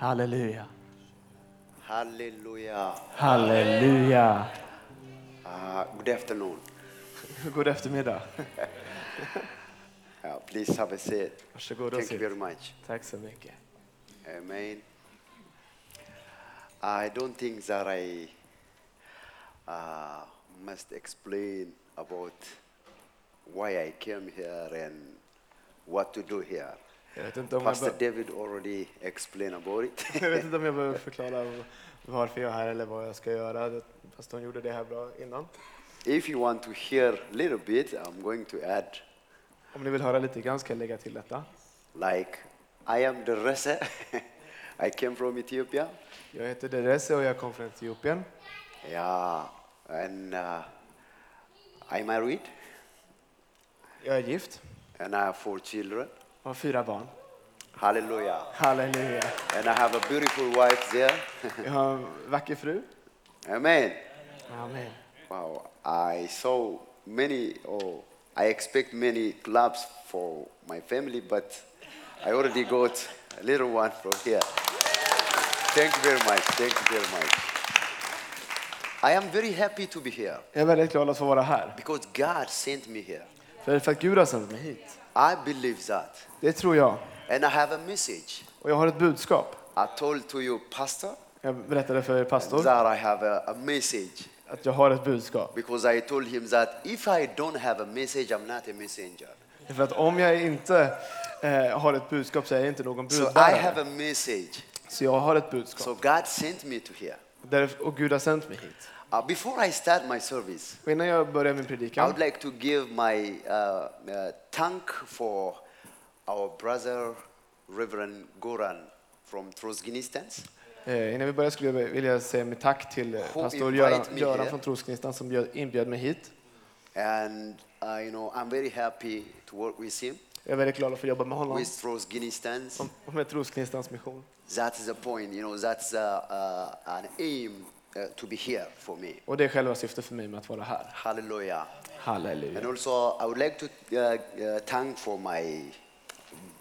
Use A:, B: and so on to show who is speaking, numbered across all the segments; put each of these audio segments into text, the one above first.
A: Halleluja.
B: Hallelujah.
A: Halleluja.
B: Uh, good afternoon.
A: God eftermiddag.
B: Uh, please have a seat.
A: Varsågod och
B: Thank you
A: sitt.
B: very much.
A: Tack så mycket.
B: Amen. I don't think that I uh, must explain about why I came here and what to do here.
A: Jag vet inte om jag,
B: Pastor
A: be-
B: David already explained about it.
A: jag, vet inte om jag behöver förklara varför jag är här eller vad jag ska göra. Fast hon gjorde det här bra innan.
B: if you want to hear a little bit, I'm going to add
A: Om ni vill höra lite grann ska jag lägga till detta.
B: like I am the Rese. I came from Ethiopia.
A: Jag heter Derese och jag kommer från Etiopien.
B: Yeah, and uh, I married,
A: Jag är gift,
B: and I have four children.
A: har fyra barn.
B: Hallelujah!
A: Halleluja.
B: And I have a beautiful wife there.
A: Jag har en vacker fru.
B: Amen.
A: Amen.
B: Wow, I saw many. Oh, I expect many claps for my family, but I already got a little one from here. Thank you very much. Thank you very much. I am very happy to be here
A: Jag är väldigt glad att få vara här.
B: because God sent me here.
A: För, för att Gud har sänt mig hit.
B: I believe that.
A: Det tror jag.
B: And I have a message.
A: Och jag har ett budskap.
B: I told to you, Pastor,
A: Jag berättade för pastor
B: that I have a, a message
A: att jag har ett budskap.
B: because I told him that if I don't have a message, I'm not a messenger.
A: För att om jag inte eh, har ett budskap så är jag inte någon
B: So I
A: budbärare.
B: have a message.
A: Så jag har ett budskap.
B: So God sent me to here.
A: Därför, och Gud har sänt mig hit.
B: Uh, before I start my service,
A: Och innan jag börjar min
B: I
A: predikan
B: would like to give my uh, uh, thank for our brother, Reverend Goran from Trosgnistan.
A: Eh, Innan vi börjar skulle jag vilja säga mitt tack till eh,
B: Who
A: pastor
B: invite
A: Göran,
B: me
A: Göran
B: here?
A: från Trosgnistan som bjöd, inbjöd mig hit.
B: And, uh, you know, I'm very happy to work with him,
A: Jag är väldigt glad att få jobba med honom
B: with Trosgnistan.
A: om- och med Trosgnistans mission.
B: That's the point, you know, that's uh, uh, an aim uh, to be here for me.
A: Och det är själva syftet för mig med att vara här.
B: Hallelujah.
A: Halleluja.
B: And also, I would like to uh, uh, thank for my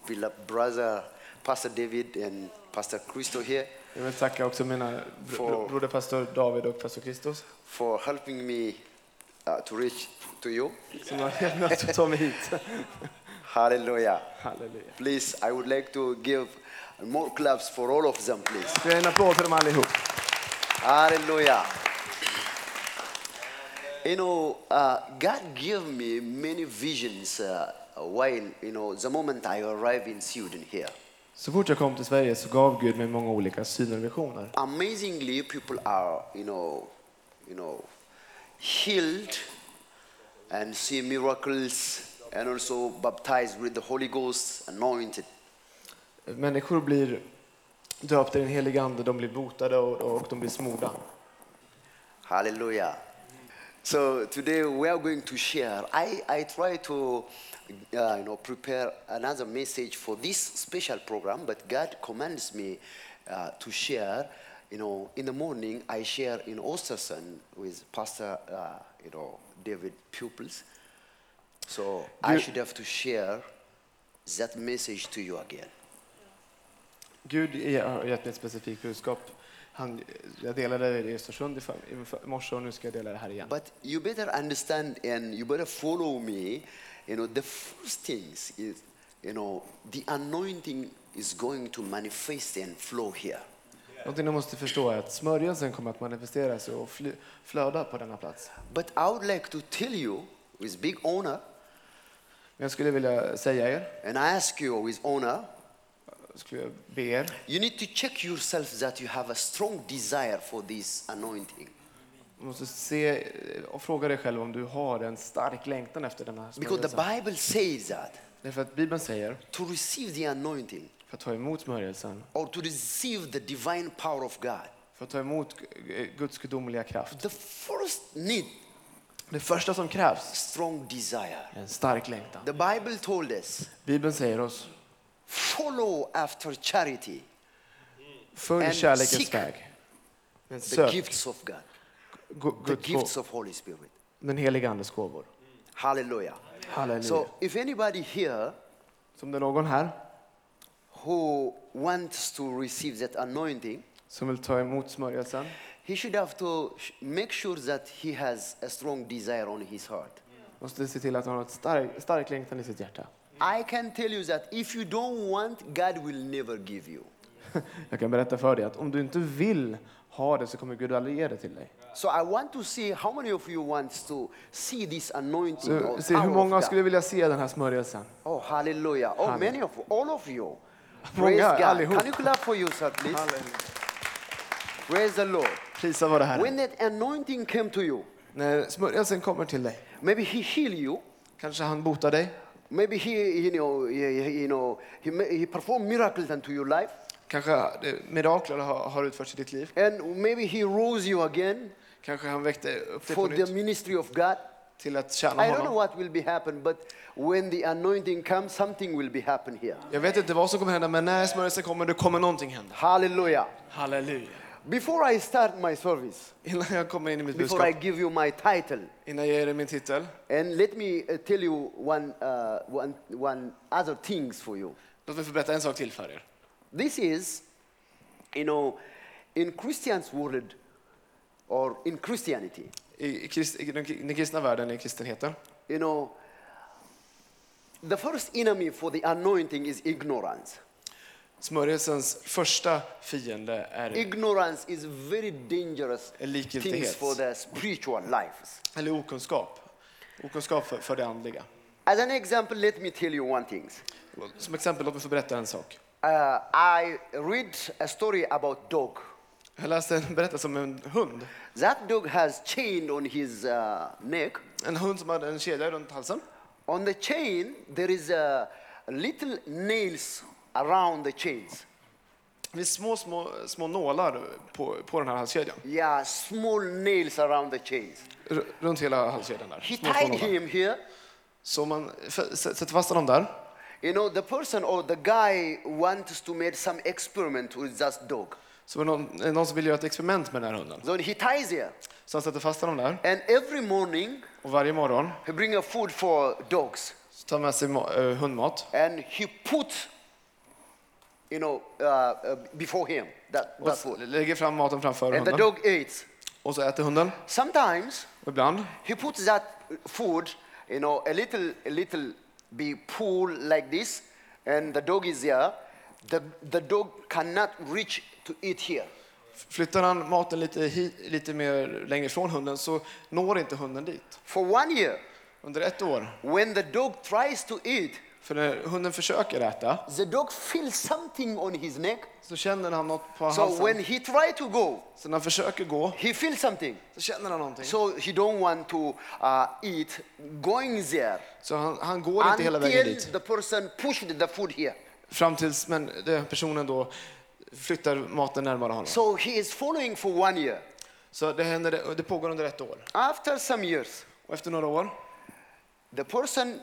B: beloved brother, Pastor David and Pastor Christo here,
A: Jag vill tacka också mina br-
B: For-
A: br- broder pastor David och pastor Kristus
B: for helping me uh, to reach to you.
A: som har hjälpt mig att ta mig hit.
B: Hallelujah.
A: Halleluja.
B: Please, I would like to give more claps for all of them, please.
A: Så en applåd för dem allihop.
B: Hallelujah. You know, uh, God gave me many visions uh, while, you know, the moment I arrived in Sweden here.
A: Så fort jag kom till Sverige så gav Gud mig många olika syner och visioner.
B: Amazingly, people are, you know, you know, healed and see miracles and also baptized with the Holy Ghost, anointed.
A: Människor blir döpta i den helige Ande, de blir botade och, och de blir smorda.
B: Hallelujah. So today we are going to share. I, I try to uh, you know, prepare another message for this special program, but God commands me uh, to share. You know, in the morning I share in Osterson with Pastor, uh, you know, David Pupils. So I
A: You-
B: should have to share that message to you again.
A: Gud ge- har gett mig ett specifikt budskap. Han, jag delade det i Östersund i för- i för- morse och nu ska jag dela det här igen.
B: But you better understand and you better follow me. You know, the first things is, you know, the anointing is going to manifest and flow here.
A: Någonting ni måste förstå är att smörjelsen kommer att manifestera sig och fly, flöda på denna plats.
B: But I would like to tell you with big honor,
A: Men jag skulle vilja säga er,
B: and I ask you with honor,
A: skulle jag be er,
B: you need to check yourself that you have a strong desire for this anointing.
A: du måste se och fråga dig själv om du har en stark längtan efter denna
B: Because the
A: smörjelsen.
B: Bible says that
A: Därför att Bibeln säger,
B: to receive the anointing
A: för att ta emot smörjelsen,
B: or to receive the divine power of God,
A: för att ta emot G- Guds gudomliga kraft.
B: the first need,
A: Det första som krävs
B: strong desire.
A: är en stark längtan.
B: The Bible told us
A: Bibeln säger oss,
B: follow after charity
A: följ
B: And
A: kärlekens
B: seek.
A: väg. Men
B: the
A: sök
B: gifts of God,
A: gu-
B: the
A: Guds
B: gifts
A: gåvor,
B: of Holy Spirit.
A: den heliga Andes gåvor.
B: Hallelujah.
A: Halleluja.
B: So if anybody here
A: Som det är någon här
B: who wants to receive that anointing,
A: som vill ta emot smörjelsen,
B: he should have to sh- make sure that he has a strong desire on his heart.
A: måste se till att han har ett stark, stark längtan i sitt hjärta.
B: I can tell you that if you don't want, God will never give you.
A: Jag kan berätta för dig att om du inte vill ha det så kommer Gud aldrig ge det till dig.
B: So I want to see how many of you wants to see this anointing.
A: Så,
B: or
A: se
B: power
A: hur
B: of
A: många
B: God.
A: skulle vilja se den här smörjelsen?
B: Oh, hallelujah. Oh,
A: Hallelujah.
B: many of all of you.
A: Många,
B: Praise God.
A: allihop.
B: Can you clap for yourself, please? Praise the Lord.
A: Prisa vare Herren.
B: When that anointing came to you,
A: När smörjelsen kommer till dig,
B: maybe He heal you.
A: kanske han botar dig,
B: Maybe He, you know, he, he- you know, He, ma- he performed miracles into your life,
A: kanske eh, mirakler har, har utförts i ditt liv,
B: and maybe He rose you again
A: kanske han väckte upp dig på
B: for the
A: nytt
B: ministry of God.
A: till att tjäna
B: I don't know
A: honom.
B: what will be happen, but when the anointing comes, something will be happen here.
A: Jag vet inte vad som kommer hända, men när smörjelsen kommer, då kommer någonting hända.
B: Hallelujah.
A: Halleluja.
B: Before I start my service,
A: Innan jag kommer in i mitt
B: before I
A: budskap,
B: give you my title,
A: innan jag ger dig min titel,
B: And let me uh, tell you one, uh, one, one other things for you.
A: låt mig få berätta en sak till för er.
B: This is, you know, in Christian's world or in Christianity,
A: I, i, krist, i den den kristna världen, i kristenheten,
B: you know, the first enemy for the anointing is ignorance.
A: smörjelsens första fiende är
B: Ignorance is very dangerous
A: Likgiltighet.
B: things for the spiritual lives.
A: eller okunskap. Okunskap för, för det andliga.
B: As an example, let me tell you one thing.
A: Som exempel, låt mig få berätta en sak.
B: Uh, I read a story about dog.
A: Jag läste en berättelse om en hund.
B: That dog has chain on his uh, neck.
A: En hund som hade en kedja runt halsen.
B: On the chain, there is a little nails around the chains.
A: Med små, små, små nålar på, på den här halskedjan.
B: Yeah, small nails around the chains.
A: R- runt hela halskedjan där.
B: He
A: Små, små
B: tied
A: nålar.
B: him here.
A: Så man f- s- sätter fast honom där.
B: You know, the person or the guy wants to make some experiment with that dog.
A: Så var det någon, eh, någon som ville göra ett experiment med den här hunden.
B: So he ties here.
A: Så han sätter fast honom där.
B: And every morning,
A: Och varje morgon
B: he bring a food for dogs.
A: så tar han med sig ma- eh, hundmat.
B: And he put, you know, uh, uh, before him that,
A: Och
B: that
A: s-
B: food.
A: lägger fram maten framför
B: And the
A: hunden.
B: dog ate.
A: Och så äter hunden.
B: Sometimes
A: Och ibland
B: He puts that food, you know, a little, a little big pool like this, and the dog is here. The, the dog cannot reach to eat here.
A: Flyttar han maten lite, hi- lite mer längre ifrån hunden så når inte hunden dit.
B: For one year,
A: Under ett år,
B: when the dog tries to eat,
A: för när hunden försöker äta,
B: the dog feels something on his neck.
A: så känner han något på
B: So
A: halsen.
B: when he tries to go,
A: Så när han försöker gå,
B: he feels something.
A: så känner han någonting.
B: So he don't want to uh, eat going there
A: Så han, han går inte hela vägen
B: until
A: dit.
B: the person pushed the food here.
A: Fram tills men, den personen då flyttar maten närmare honom.
B: So he is following for one year.
A: Så det, händer, det pågår under ett år.
B: After some years,
A: Och efter några år
B: The person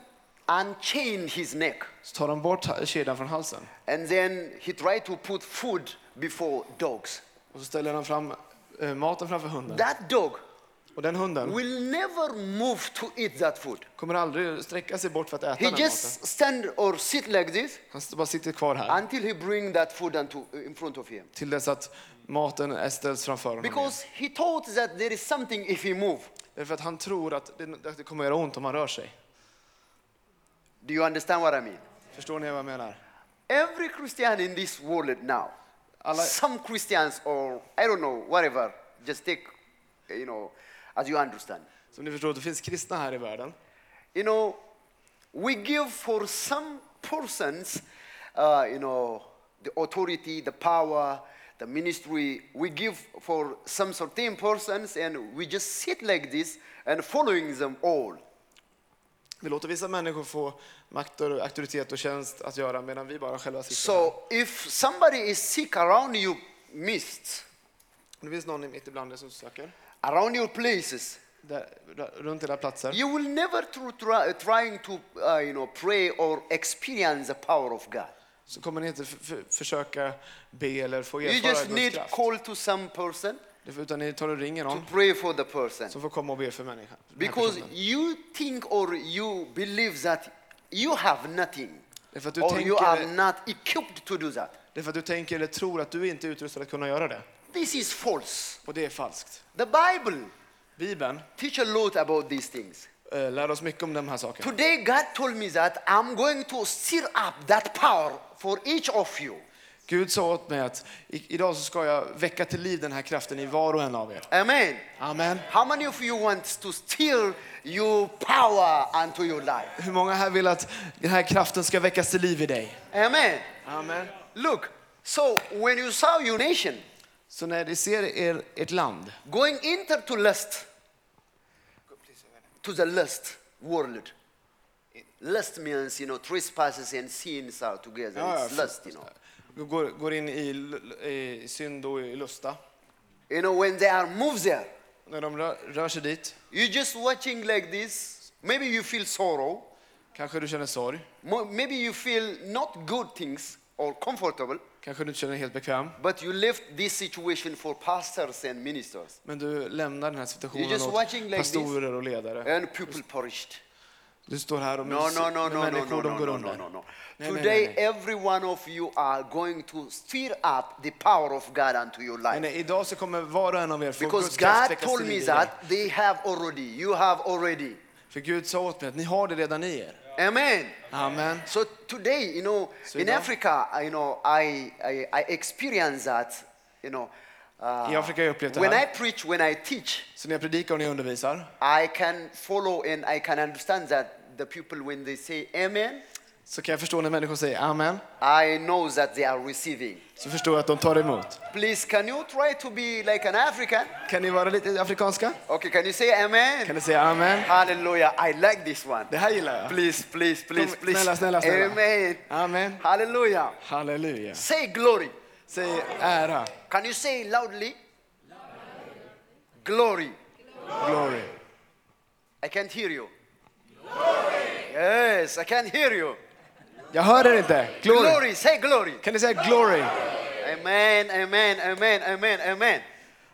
B: unchained his neck
A: så tar han bort ha- kedjan från halsen.
B: and then he tried to put food before dogs.
A: Och så ställer han fram eh, maten framför hunden.
B: That dog
A: Och den hunden
B: will never move to eat that food.
A: kommer aldrig sträcka sig bort för att äta
B: He
A: den maten.
B: just stand or sit like this
A: Han bara sitter kvar här.
B: until he bring that food unto, uh, in front of him.
A: till dess att maten är ställs framför honom. igen.
B: Because he thought that there is something if he move.
A: Därför att han tror att det, att det kommer göra ont om han rör sig.
B: Do you understand what I mean?
A: Förstår ni vad jag menar?
B: Every Christian in this world now,
A: Alla,
B: some Christians or I don't know, whatever, just take, you know, as you understand.
A: som ni förstår, det finns kristna här i världen.
B: You know, we give for some persons, uh, you know, the authority, the power, the ministry. We give for some certain persons, and we just sit like this and following them all.
A: Vi låter vissa människor få makt, och auktoritet och tjänst att göra medan vi bara själva sitter här.
B: So if somebody is sick around you, midst,
A: Det finns någon i mitt ibland er som söker,
B: around your places,
A: där, där- runt era platser.
B: you will never tr- try, trying to, uh, you know, pray or experience the power of God.
A: Så kommer ni inte f- f- försöka be eller få
B: You
A: erfara
B: just
A: Guds
B: need
A: kraft.
B: call to some person
A: Därför- Utan ni tar och ringer
B: to
A: någon
B: pray for the person.
A: som får komma och be för människan. den här
B: Because
A: personen.
B: you think or you believe that you have nothing.
A: Därför att du,
B: or you are
A: tänker,
B: not equipped to do that.
A: därför att du tänker eller tror att du inte är utrustad att kunna göra det.
B: This is false.
A: Och det är falskt.
B: The Bible
A: Bibeln
B: teach a lot about these things.
A: eh, lär oss mycket om de här sakerna.
B: Today, God told me that I'm going to stir up that power for each of you.
A: Gud sa åt mig att i, idag så ska jag väcka till liv den här kraften i var och en av er.
B: Amen.
A: Amen.
B: How many of you want to stir your power unto your life?
A: Hur många här vill att den här kraften ska väckas till liv i dig?
B: Amen.
A: Amen.
B: Look, so when you saw your nation
A: Så när ni ser er, ert land
B: going into to lust, to the lust world. Lust means, you know, trespasses and sins are together.
A: Ja, ja,
B: it's
A: förstås.
B: lust, you know.
A: går, går in i, l- i synd och i lusta,
B: You know, when they are moved there,
A: när de rör, rör sig dit,
B: you just watching like this, maybe you feel sorrow,
A: kanske du känner sorg,
B: mo- maybe you feel not good things or comfortable,
A: kanske du inte känner dig helt bekväm,
B: but you left this situation for pastors and ministers,
A: men du lämnar den här
B: You're
A: situationen
B: just
A: åt
B: watching like
A: pastorer och ledare.
B: and people perished.
A: Du står här och
B: No,
A: myser
B: no, no,
A: med
B: no, no,
A: människor,
B: no,
A: de går
B: no, no,
A: under.
B: no, no.
A: Nej, nej,
B: Today,
A: nej, nej.
B: every one of you are going to stir up the power of God unto your
A: Nej,
B: life.
A: nej, idag så kommer var och en av er få
B: Because
A: Guds kraft
B: God
A: väckas
B: told
A: till
B: me
A: liv i er.
B: that they have already, you have already.
A: För Gud sa åt mig att ni har det redan i er.
B: Amen.
A: Amen.
B: So today, you know,
A: So
B: in
A: now-
B: Africa, I- you know, I, I, I experience that, you know. uh,
A: I Afrika har jag upplevt det
B: When I
A: här.
B: preach, when I teach,
A: Så när jag predikar och när jag undervisar
B: I can follow and I can understand that the people, when they say amen,
A: så kan jag förstå när människor säger amen,
B: I know that they are receiving.
A: så förstår jag att de tar emot.
B: Please, can you try to be like an African?
A: Kan ni vara lite afrikanska?
B: Okay, can you say amen?
A: Kan ni säga amen?
B: Hallelujah. I like this one.
A: Det här gillar jag.
B: Please, please, please,
A: Kom,
B: please.
A: snälla, snälla, snälla.
B: Amen.
A: Amen.
B: Hallelujah.
A: Halleluja.
B: Say glory.
A: Säg ära,
B: Can you say loudly? Glory.
A: glory.
B: I can't hear you. Glory. Yes, I can't hear you.
A: Jag hör er inte. Glory.
B: Say glory.
A: Kan ni säga glory?
B: Amen, amen, amen, amen, amen.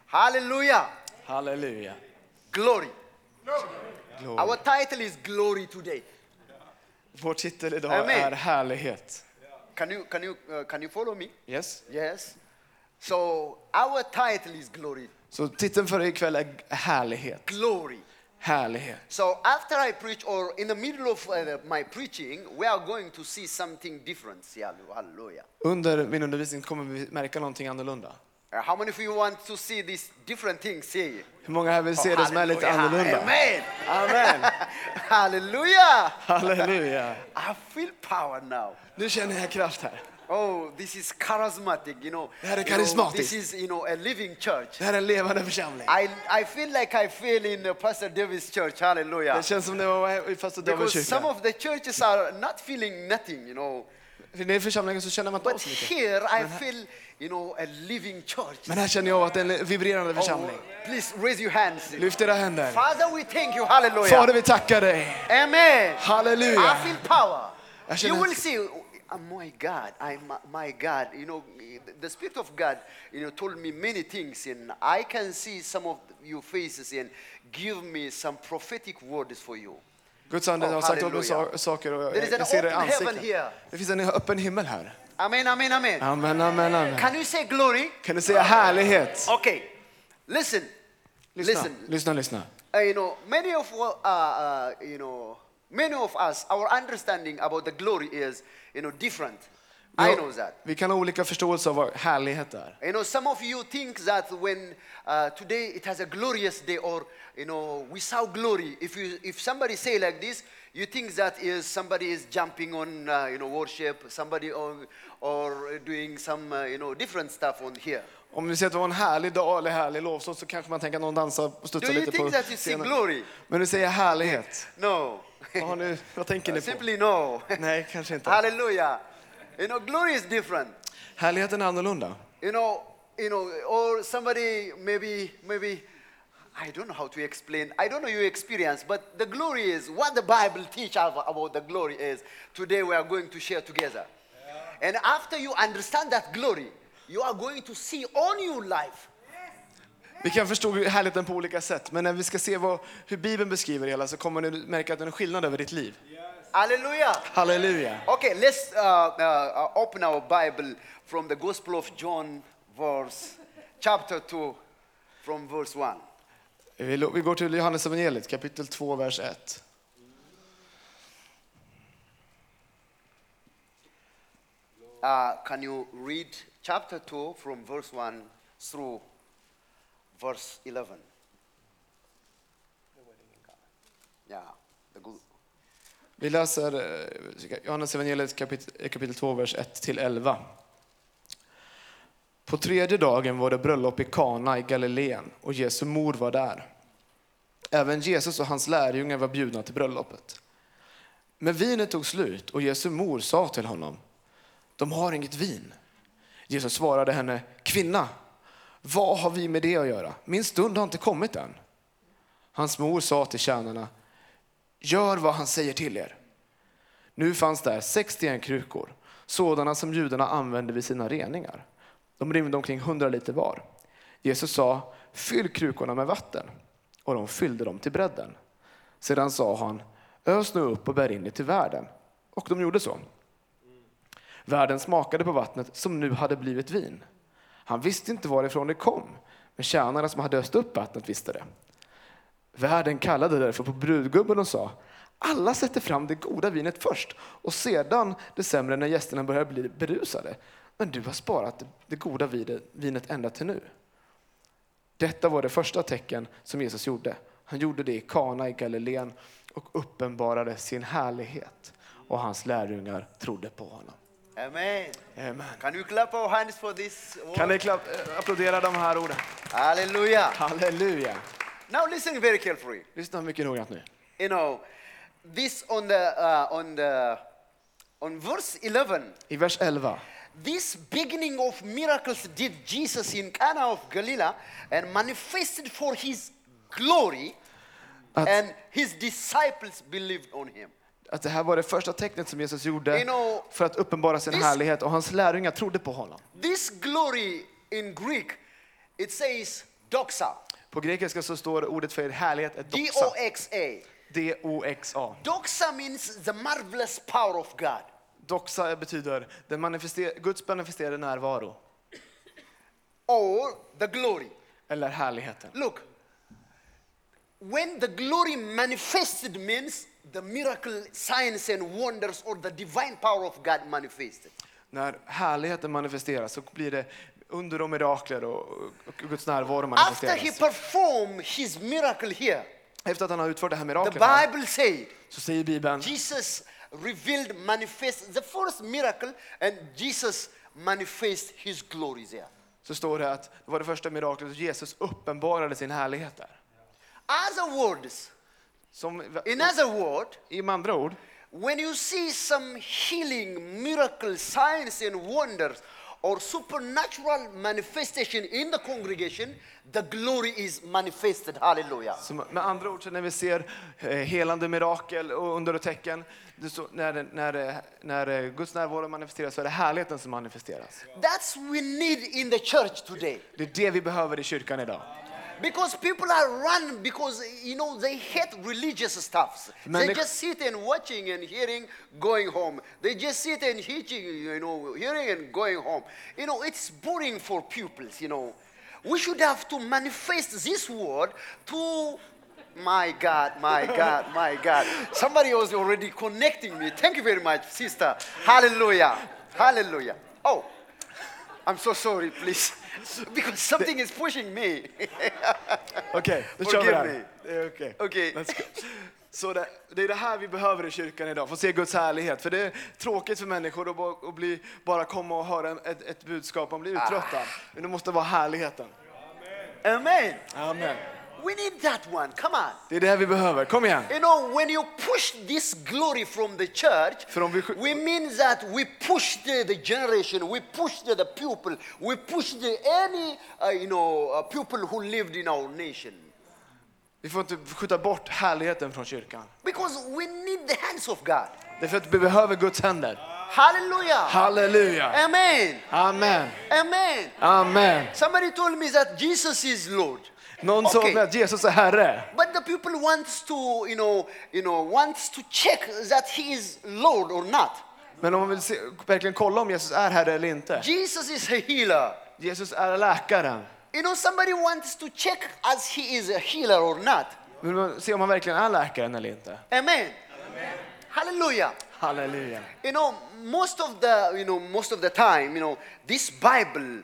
B: Hallelujah.
A: Halleluja.
B: Glory.
A: Glory.
B: Our title is glory today.
A: Vår titel idag
B: Amen.
A: är härlighet.
B: Can you can you uh, can you follow me?
A: Yes.
B: Yes. So our title is glory.
A: Så titeln för ikväll är härlighet.
B: Glory.
A: Härlighet.
B: So after I preach, or in the middle of uh, my preaching, we are going to see something different. Yeah, Hallelujah.
A: Under min undervisning kommer vi märka någonting annorlunda.
B: Uh, How many of you want to see these different things here?
A: Hur många här vill se det som är lite annorlunda?
B: Amen.
A: Amen.
B: Hallelujah.
A: Halleluja.
B: I feel power now.
A: Nu känner jag kraft här.
B: Oh, this is charismatic, you know.
A: Det här är
B: You know,
A: karismatiskt.
B: This is, you know, a living church.
A: Det här är en levande församling.
B: I, I feel like I feel in uh, Pastor Davis' church. Hallelujah.
A: Det känns som det var i Pastor Davids
B: Because some
A: kyrka.
B: of the churches are not feeling nothing, you know.
A: För I församlingen så känner man inte av
B: But
A: så mycket.
B: here I feel, you know, a living church. Oh,
A: Men här känner jag att det är en vibrerande församling.
B: please raise your hands.
A: Lyft era händer.
B: Father, we thank you. Hallelujah.
A: Fader, vi tackar dig.
B: Amen.
A: Halleluja.
B: I feel power.
A: Jag känner-
B: You will see. Oh my God, I, my, my God, you know, the Spirit of God, you know, told me many things, and I can see some of your faces and give me some prophetic words for you.
A: Guds ande
B: Oh,
A: har sagt åt mig
B: halleluja.
A: sa- saker och jag,
B: There is an
A: jag ser det i
B: open heaven here.
A: ansiktet. Det finns en öppen himmel här.
B: Amen, amen, amen.
A: Amen, amen, amen.
B: Can you say glory?
A: Kan du säga härlighet?
B: Okay, listen,
A: Lyssna,
B: Oh, listen.
A: lyssna, lyssna.
B: Uh, you know, many of uh, uh, you know, many of us, our understanding about the glory is, you know, different. I know that.
A: Vi kan ha olika förståelse av vad härlighet är.
B: You know, some of you think that when uh, today it has a glorious day, or you know, we saw glory. If you, if somebody say like this, you think that is somebody is jumping on, uh, you know, worship, somebody on, or doing some, uh, you know, different stuff on here.
A: Om vi ser att det var en härlig dag eller härlig lovsång så kanske man tänker att någon dansar och
B: Do
A: studsar
B: you
A: lite på
B: think that you see
A: scenen.
B: glory?
A: Men du säger härlighet.
B: No,
A: Vad, har ni, vad tänker ni på?
B: Uh, simply no.
A: Nej, kanske inte.
B: Hallelujah. You know, glory is different.
A: Härligheten är annorlunda.
B: You know, you know, or somebody maybe maybe I don't know how to explain. I don't know your experience, but the glory is what the Bible teach ab- about the glory is. Today we are going to share together. And after you understand that glory, you are going to see on your life.
A: Vi kan förstå härligheten på olika sätt, men när vi ska se vad, hur Bibeln beskriver det hela så kommer du märka att det är en skillnad över ditt liv.
B: Hallelujah.
A: Halleluja!
B: Okay, let's uh, uh, uh, open our Bible from the Gospel of John, verse chapter 2, from verse 1.
A: Vi lo- vi går till Johannes evangeliet, kapitel 2, vers 1.
B: Uh, can you read chapter 2 from verse 1 through verse 11? Yeah, the good.
A: Vi läser eh, Johannes evangeliet kapitel, kapitel 2, vers 1-11. På tredje dagen var det bröllop i Kana i Galileen och Jesu mor var där. Även Jesus och hans lärjungar var bjudna till bröllopet. Men vinet tog slut och Jesu mor sa till honom, de har inget vin. Jesus svarade henne, kvinna, vad har vi med det att göra? Min stund har inte kommit än. Hans mor sa till tjänarna, Gör vad han säger till er. Nu fanns där 61 krukor, sådana som judarna använde vid sina reningar. De rymde omkring 100 liter var. Jesus sa, fyll krukorna med vatten. Och de fyllde dem till bredden. Sedan sa han, ös nu upp och bär in det till värden. Och de gjorde så. Värden smakade på vattnet som nu hade blivit vin. Han visste inte varifrån det kom, men tjänarna som hade öst upp vattnet visste det. Värden kallade därför på brudgummen och sa alla sätter fram det goda vinet först och sedan det sämre när gästerna börjar bli berusade. Men du har sparat det goda vide- vinet ända till nu. Detta var det första tecken som Jesus gjorde. Han gjorde det i Kana i Galileen och uppenbarade sin härlighet och hans lärjungar trodde på honom.
B: Amen.
A: Amen.
B: Can we clap our hands for this? word?
A: Kan ni klapp- applådera de här orden?
B: Hallelujah.
A: Halleluja!
B: Now listen very carefully.
A: Lyssna mycket noggrant nu.
B: You know, this on the uh, on the on verse 11.
A: I vers 11
B: This beginning of miracles did Jesus in Cana of Galilee and manifested for his glory,
A: Att-
B: and his disciples believed on him.
A: att det här var det första tecknet som Jesus gjorde
B: You know,
A: för att uppenbara sin
B: this-
A: härlighet och hans lärjungar trodde på honom.
B: This glory in Greek, it says doxa,
A: På grekiska så står ordet för härlighet är
B: D
A: doxa.
B: O X A.
A: D-O-X-A.
B: Doxa means the marvelous power of God.
A: Doxa betyder den manifester- Guds manifesterade närvaro
B: or the glory.
A: eller härligheten.
B: Look, when the glory manifested means the miracle, signs, and wonders or the divine power of God manifested.
A: När härligheten manifesteras så blir det under och mirakler och, och Guds närvaro
B: After
A: manifesteras.
B: he performed his miracle here,
A: Efter att han har utfört det här
B: the
A: miraklet här,
B: Bible said
A: så säger Bibeln
B: Jesus revealed, manifest the first miracle, and Jesus manifest his glory there.
A: så står det att det var det första miraklet och Jesus uppenbarade sin härlighet där.
B: Other words,
A: Som,
B: in other words,
A: I med andra ord
B: When you see some healing, miracle, signs, and wonders, or supernatural manifestation in the congregation, the glory is manifested. Hallelujah.
A: Så med andra ord, så när vi ser eh, helande mirakel och under och tecken, det så, när, det- när, det- när eh, Guds närvaro manifesteras så är det härligheten som manifesteras.
B: That's we need in the church today.
A: Det är det vi behöver i kyrkan idag.
B: Because people are run because you know they hate religious stuffs.
A: Men
B: they
A: det-
B: just sit and watching and hearing, going home. They just sit and teaching, you know, hearing and going home. You know, it's boring for pupils. You know, we should have to manifest this word to. My God, my God, my God. Somebody was already connecting me. Thank you very much, sister. Hallelujah. Hallelujah. Oh, I'm so sorry, please. Because something is pushing me.
A: Okej, då kör vi det
B: Forgive me.
A: här. Det är okej.
B: Okej.
A: Let's go. Så det, det är det här vi behöver i kyrkan idag, få se Guds härlighet. För det är tråkigt för människor att, bara, att bli, bara komma och höra en, ett, ett budskap, man blir uttröttad. Men det måste vara härligheten.
B: Amen.
A: Amen.
B: We need that one. Come on.
A: Det är det här vi behöver, kom igen.
B: You know, when you push this glory from the church,
A: From the-
B: we mean that we push the, the generation, we push the, the people, we push the any, uh, you know, uh, people who lived in our nation.
A: Vi får inte skjuta bort härligheten från kyrkan.
B: Because we need the hands of God.
A: Därför att vi behöver Guds händer.
B: Hallelujah.
A: Halleluja!
B: Amen.
A: Amen!
B: Amen.
A: Amen!
B: Somebody told me that Jesus is Lord.
A: Någon sa
B: Okay.
A: att Jesus är Herre.
B: But the people wants to, you know, you know, wants to check that he is Lord or not.
A: Men om man vill se, verkligen kolla om Jesus är herre eller inte.
B: Jesus is a healer.
A: Jesus är läkaren.
B: You know, somebody wants to check as he is a healer or not.
A: Vill man se om han verkligen är läkaren eller inte?
B: Amen. Hallelujah.
A: Halleluja.
B: You know, most of the you know most of the time, you know, this Bible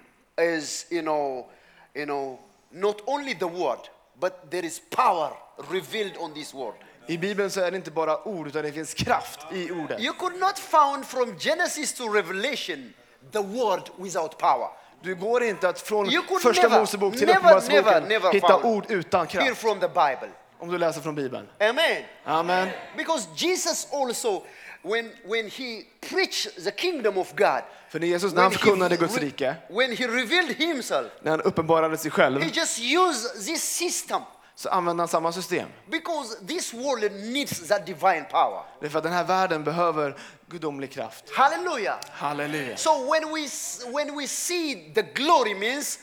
B: is you know, you know, not only the word, but there is power revealed on this word.
A: I Bibeln så är det inte bara ord, utan det finns kraft i ordet.
B: You could not found from Genesis to Revelation the word without power.
A: Du går inte att från
B: You could
A: första
B: never,
A: Moseboken till
B: never, never,
A: Uppenbarelseboken
B: never
A: hitta
B: found.
A: ord utan
B: Hear
A: kraft,
B: from the Bible.
A: om du läser från Bibeln.
B: Amen.
A: Amen.
B: Because Jesus also, when, when he preached the kingdom of God,
A: För när Jesus, när
B: when
A: han
B: he,
A: förkunnade Guds
B: re-
A: rike,
B: when he revealed himself,
A: när han uppenbarade sig själv,
B: he just used this system
A: så använde han samma system.
B: because this world needs that divine power.
A: Det är för att den här världen behöver gudomlig kraft.
B: Hallelujah.
A: Halleluja.
B: So when we, s- when we see the glory means,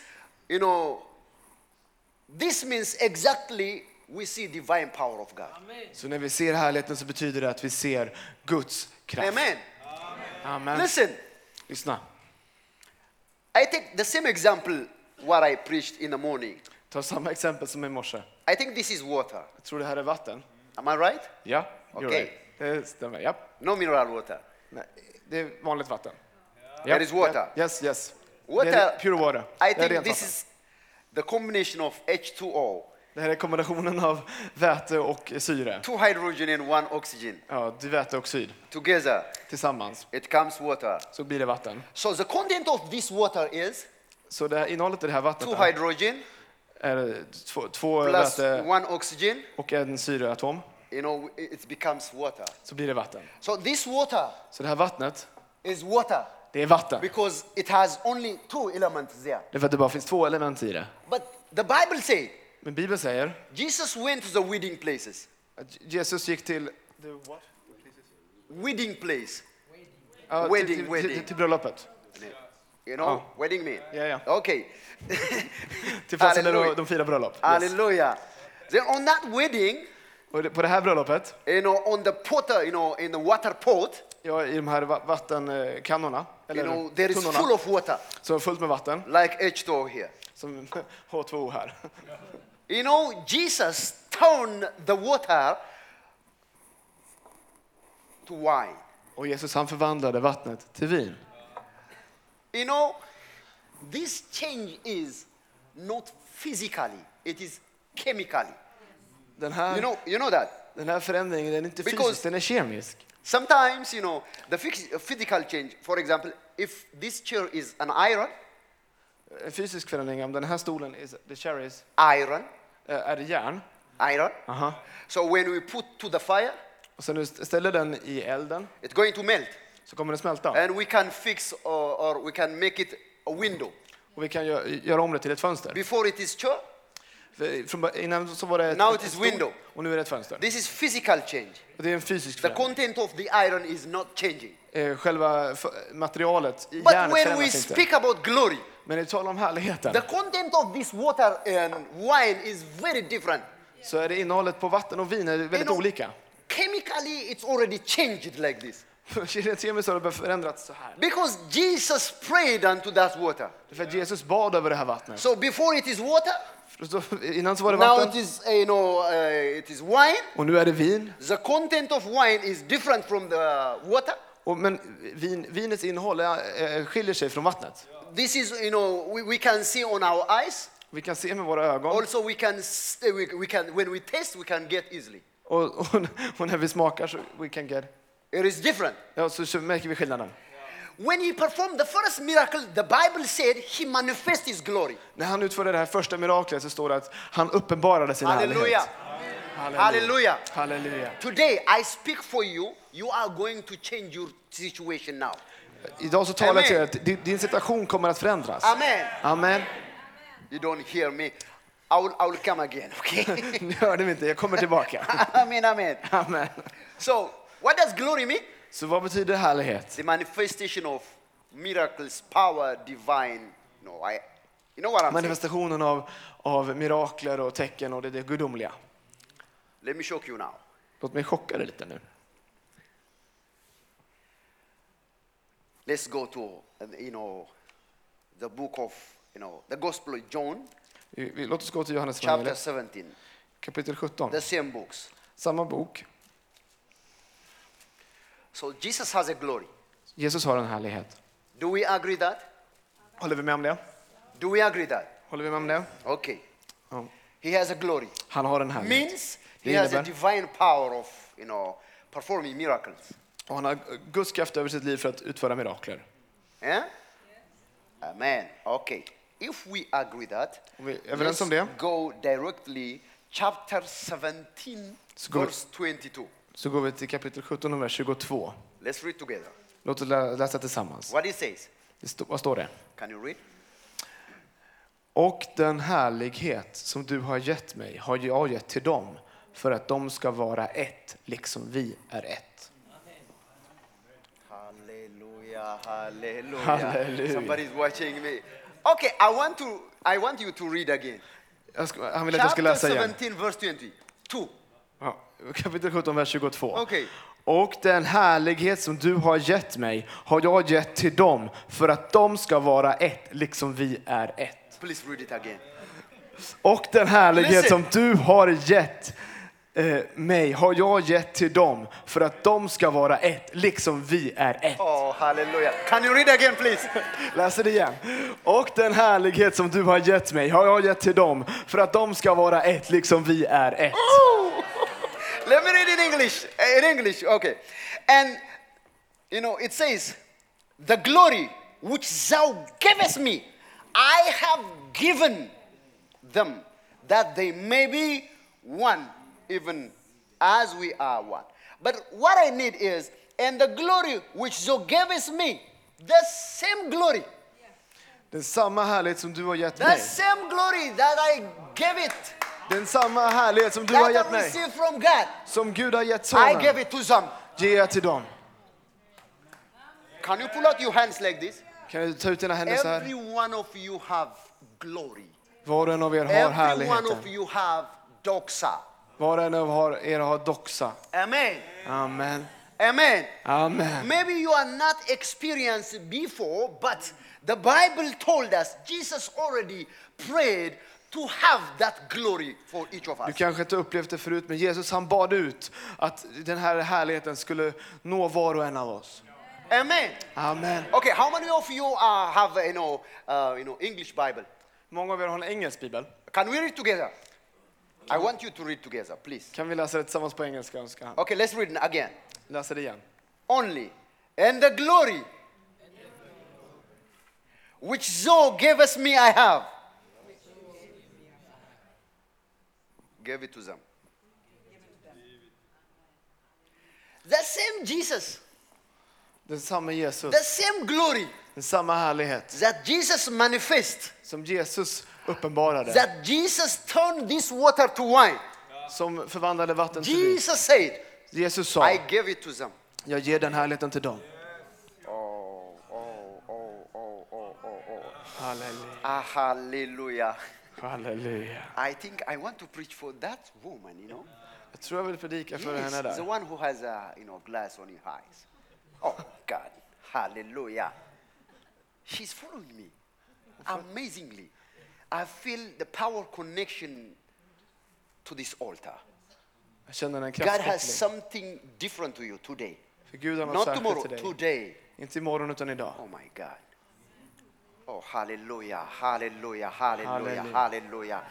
B: you know, this means exactly we see divine power of God.
A: Så när vi ser härligheten så betyder det att vi ser Guds kraft.
B: Amen.
A: Amen.
B: Listen,
A: Lyssna.
B: I take the same example what I preached in the morning.
A: Ta samma exempel som i morse.
B: I think this is water.
A: Jag tror det här är vatten.
B: Am I right?
A: Ja, you're
B: Okej.
A: right. Det stämmer. Ja.
B: No mineral water.
A: Nej, det är vanligt vatten. Ja.
B: There is water.
A: Ja. Yes, yes.
B: Water-
A: Det är pure water.
B: I
A: det, är
B: think
A: rent
B: this
A: vatten.
B: is the combination of H2O,
A: det här är kombinationen av väte och syre.
B: two hydrogen and one oxygen.
A: Ja, diväteoxid.
B: Together,
A: Tillsammans
B: it comes water.
A: så blir det vatten.
B: So the content of this water is
A: Så det här, innehållet i det här vattnet
B: two
A: är,
B: hydrogen
A: är två, två
B: plus
A: väte
B: one oxygen.
A: och en syreatom.
B: You know, it it becomes water.
A: Så blir det vatten.
B: So this water
A: Så det här vattnet,
B: is water
A: det är vatten.
B: because it has only two elements there.
A: Det är för att det bara finns två element i det.
B: But the Bible says
A: Men Bibeln säger
B: Jesus went to the wedding places.
A: att Jesus gick till,
B: Wedding place.
A: ja,
B: Wedding,
A: till, till,
B: wedding.
A: till, till bröllopet.
B: You know,
A: Oh.
B: wedding man.
A: Yeah, yeah.
B: Okay.
A: Till platsen där
B: Hallelujah.
A: de- de firar bröllop. Yes.
B: Hallelujah. Then on that wedding,
A: Och det- på det här bröllopet,
B: you know, on the potter, you know, in the water pot,
A: ja, i de här va- vattenkannorna,
B: you
A: eller
B: know, there is
A: tunnorna,
B: full of water,
A: som är fullt med vatten,
B: like H2O here.
A: som H2O här.
B: You know, Jesus turned the water to wine.
A: Och Jesus han förvandlade vattnet till vin.
B: You know, this change is not physically, it is chemically.
A: Den här,
B: You know, you know that.
A: den här förändringen den är inte
B: Because-
A: fysisk, den är kemisk.
B: Sometimes, you know, the phys- physical change, for example, if this chair is an iron,
A: En fysisk förändring, om den här stolen, is, the chair is,
B: iron,
A: eh, är det järn.
B: iron.
A: Aha.
B: So when we put to the fire,
A: Och sen du ställer den i elden
B: it's going to melt.
A: så kommer den smälta.
B: And we can fix or, or we can make it a window.
A: Och vi kan gö- göra om det till ett fönster.
B: Before it is chair,
A: För Från, bör- innan så var det ett,
B: Now
A: ett,
B: it is
A: stort-
B: window.
A: och nu är det ett fönster.
B: this is physical change.
A: Och det är en fysisk
B: The
A: förändring.
B: content of the iron is not changing.
A: Eh, Själva f- materialet i Ah.
B: But
A: järnet
B: when we
A: förändras inte.
B: speak about glory,
A: Men när vi talar om härligheten
B: the content of this water and wine is very different.
A: så är det innehållet på vatten och vin är väldigt
B: know-
A: olika.
B: Chemically, it's already changed like this.
A: Rent kemiskt har det förändrats så här.
B: Because Jesus prayed unto that water.
A: För att Jesus bad över det här vattnet.
B: So before it is water,
A: För så- Innan så var det
B: now it
A: vatten
B: is, uh, you know, uh, it is wine.
A: och nu är det vin.
B: The content of wine is different from the water.
A: Och, men vin, vinets innehåll är, eh, skiljer sig från vattnet.
B: This is, you know, we, we can see on our eyes.
A: Vi kan se med våra ögon.
B: Also, we can, s- uh, we, we can, when we taste, we can get easily.
A: Och, och, och när vi smakar så we can get,
B: It is different.
A: ja, så, så märker vi skillnaden.
B: When he performed the first miracle, the Bible said he manifests his glory.
A: När han utförde det här första miraklet så står det att han uppenbarade sin
B: Hallelujah.
A: härlighet.
B: Hallelujah.
A: Halleluja.
B: Today, I speak for you. You are going to change your situation now.
A: Idag så talar jag till er
B: Amen.
A: att din- din situation kommer att förändras.
B: Amen.
A: Amen.
B: You don't hear me. I will, I will come again, okay?
A: Nu hörde vi inte, jag kommer tillbaka.
B: amen, amen.
A: Amen.
B: So, what does glory mean?
A: Så vad betyder härlighet?
B: The manifestation of miracles, power, divine. No, I. You know what I'm saying?
A: Manifestationen av, av mirakler och tecken och det, det gudomliga.
B: Let me shock you now.
A: Låt mig chocka dig lite nu.
B: Let's go to, um, you know, the book of, you know, the Gospel of John,
A: Vi- vi- Låt oss gå till Johannes
B: chapter
A: evangeliet,
B: 17,
A: kapitel 17.
B: the same books.
A: Samma bok.
B: So Jesus has a glory.
A: Jesus har en härlighet.
B: Do we agree that?
A: Håller vi med om det?
B: Do we agree that?
A: Håller vi med om det?
B: Okay.
A: Ja.
B: He has a glory.
A: Han har en härlighet.
B: Means he
A: Det
B: has a
A: innebär-
B: divine power of, you know, performing miracles.
A: Och han har Guds kraft över sitt liv för att utföra mirakler.
B: Eh? Amen. Okay. If we agree that,
A: Om vi är överens om det.
B: go directly chapter 17,
A: Så går vi-
B: verse 22.
A: Så går vi till kapitel 17 och vers 22.
B: Let's read together.
A: Låt oss lä- läsa tillsammans.
B: What it says.
A: Det stå- vad står det?
B: Can you read?
A: Och den härlighet som du har gett mig har jag gett till dem för att de ska vara ett, liksom vi är ett.
B: Hallelujah, hallelujah.
A: Hallelujah.
B: Somebody's watching me. Okay, I want to I want you to read again.
A: Jag ska, han vill att jag ska
B: Chapter
A: läsa igen.
B: 17, verse 20. Two.
A: Ja, kapitel 17, vers 22.
B: Okej.
A: Och den härlighet som du har gett mig har jag gett till dem för att de ska vara ett, liksom vi är ett.
B: Please read it again.
A: Och den härlighet
B: Listen.
A: som du har gett eh, mig har jag gett till dem för att de ska vara ett, liksom vi är ett.
B: Oh, hallelujah. Can you read again, please?
A: Läser det igen. Och den härlighet som du har gett mig har jag gett till dem för att de ska vara ett, liksom vi är ett.
B: Let me read in English. Eh, In English, okay. And you know, it says, "The glory which thou gavest me, I have given them, that they may be one, even as we are one." But what I need is, and the glory which thou gavest me, the same glory,
A: Den samma härlighet som du har gett
B: the
A: mig.
B: same glory that I gave it,
A: Den samma härlighet som du har
B: that
A: gett
B: I
A: mig.
B: received from God,
A: Som Gud har gett
B: I gave
A: sonen,
B: it to them.
A: ger jag till dem.
B: Can you pull out your hands like this?
A: Kan du ta ut dina händer så
B: Every
A: här?
B: one of you have glory.
A: Var och en av er har
B: Every one of
A: härligheten.
B: you have doxa.
A: Var och en av har- er har doxa.
B: Amen.
A: Amen.
B: Amen.
A: Amen.
B: Maybe you are not experienced before, but the Bible told us Jesus already prayed to have that glory for each of
A: Du
B: us.
A: kanske inte upplevt det förut, men Jesus han bad ut att den här härligheten skulle nå var och en av oss.
B: Amen.
A: Amen.
B: Okay, how many of you uh, have you know uh, you know English Bible?
A: Många av er har en engelsk bibel.
B: Can we read together? I want you to read together, please.
A: Kan vi läsa det tillsammans på engelska önskar han?
B: Okay, let's read again.
A: Läsa det igen.
B: only and the glory which thou gavest me I have. Gave it to them. The same Jesus,
A: Den samma Jesus,
B: the same glory
A: den samma härlighet
B: that Jesus manifest,
A: som Jesus uppenbarade,
B: that Jesus turned this water to wine.
A: som förvandlade vatten till vin.
B: Jesus said,
A: Jesus
B: I
A: sa,
B: gave it to them.
A: jag ger den härligheten till dem.
B: Oh, oh, oh, oh, oh, oh, oh.
A: Halleluja.
B: Ah, hallelujah.
A: Halleluja.
B: I think I want to preach for that woman, you know.
A: Jag tror jag vill predika för henne
B: Yes, the
A: där.
B: one who has a you know glass on his eyes. Oh God, Hallelujah! She's following me, amazingly. I feel the power connection to this altar.
A: Jag känner en
B: God has
A: kraftkoppling.
B: something different to you today,
A: För Gud har något
B: not tomorrow,
A: särskilt till dig.
B: today.
A: Inte imorgon utan idag.
B: Oh my God. Oh, hallelujah, hallelujah, hallelujah,
A: Hallelujah.
B: hallelujah,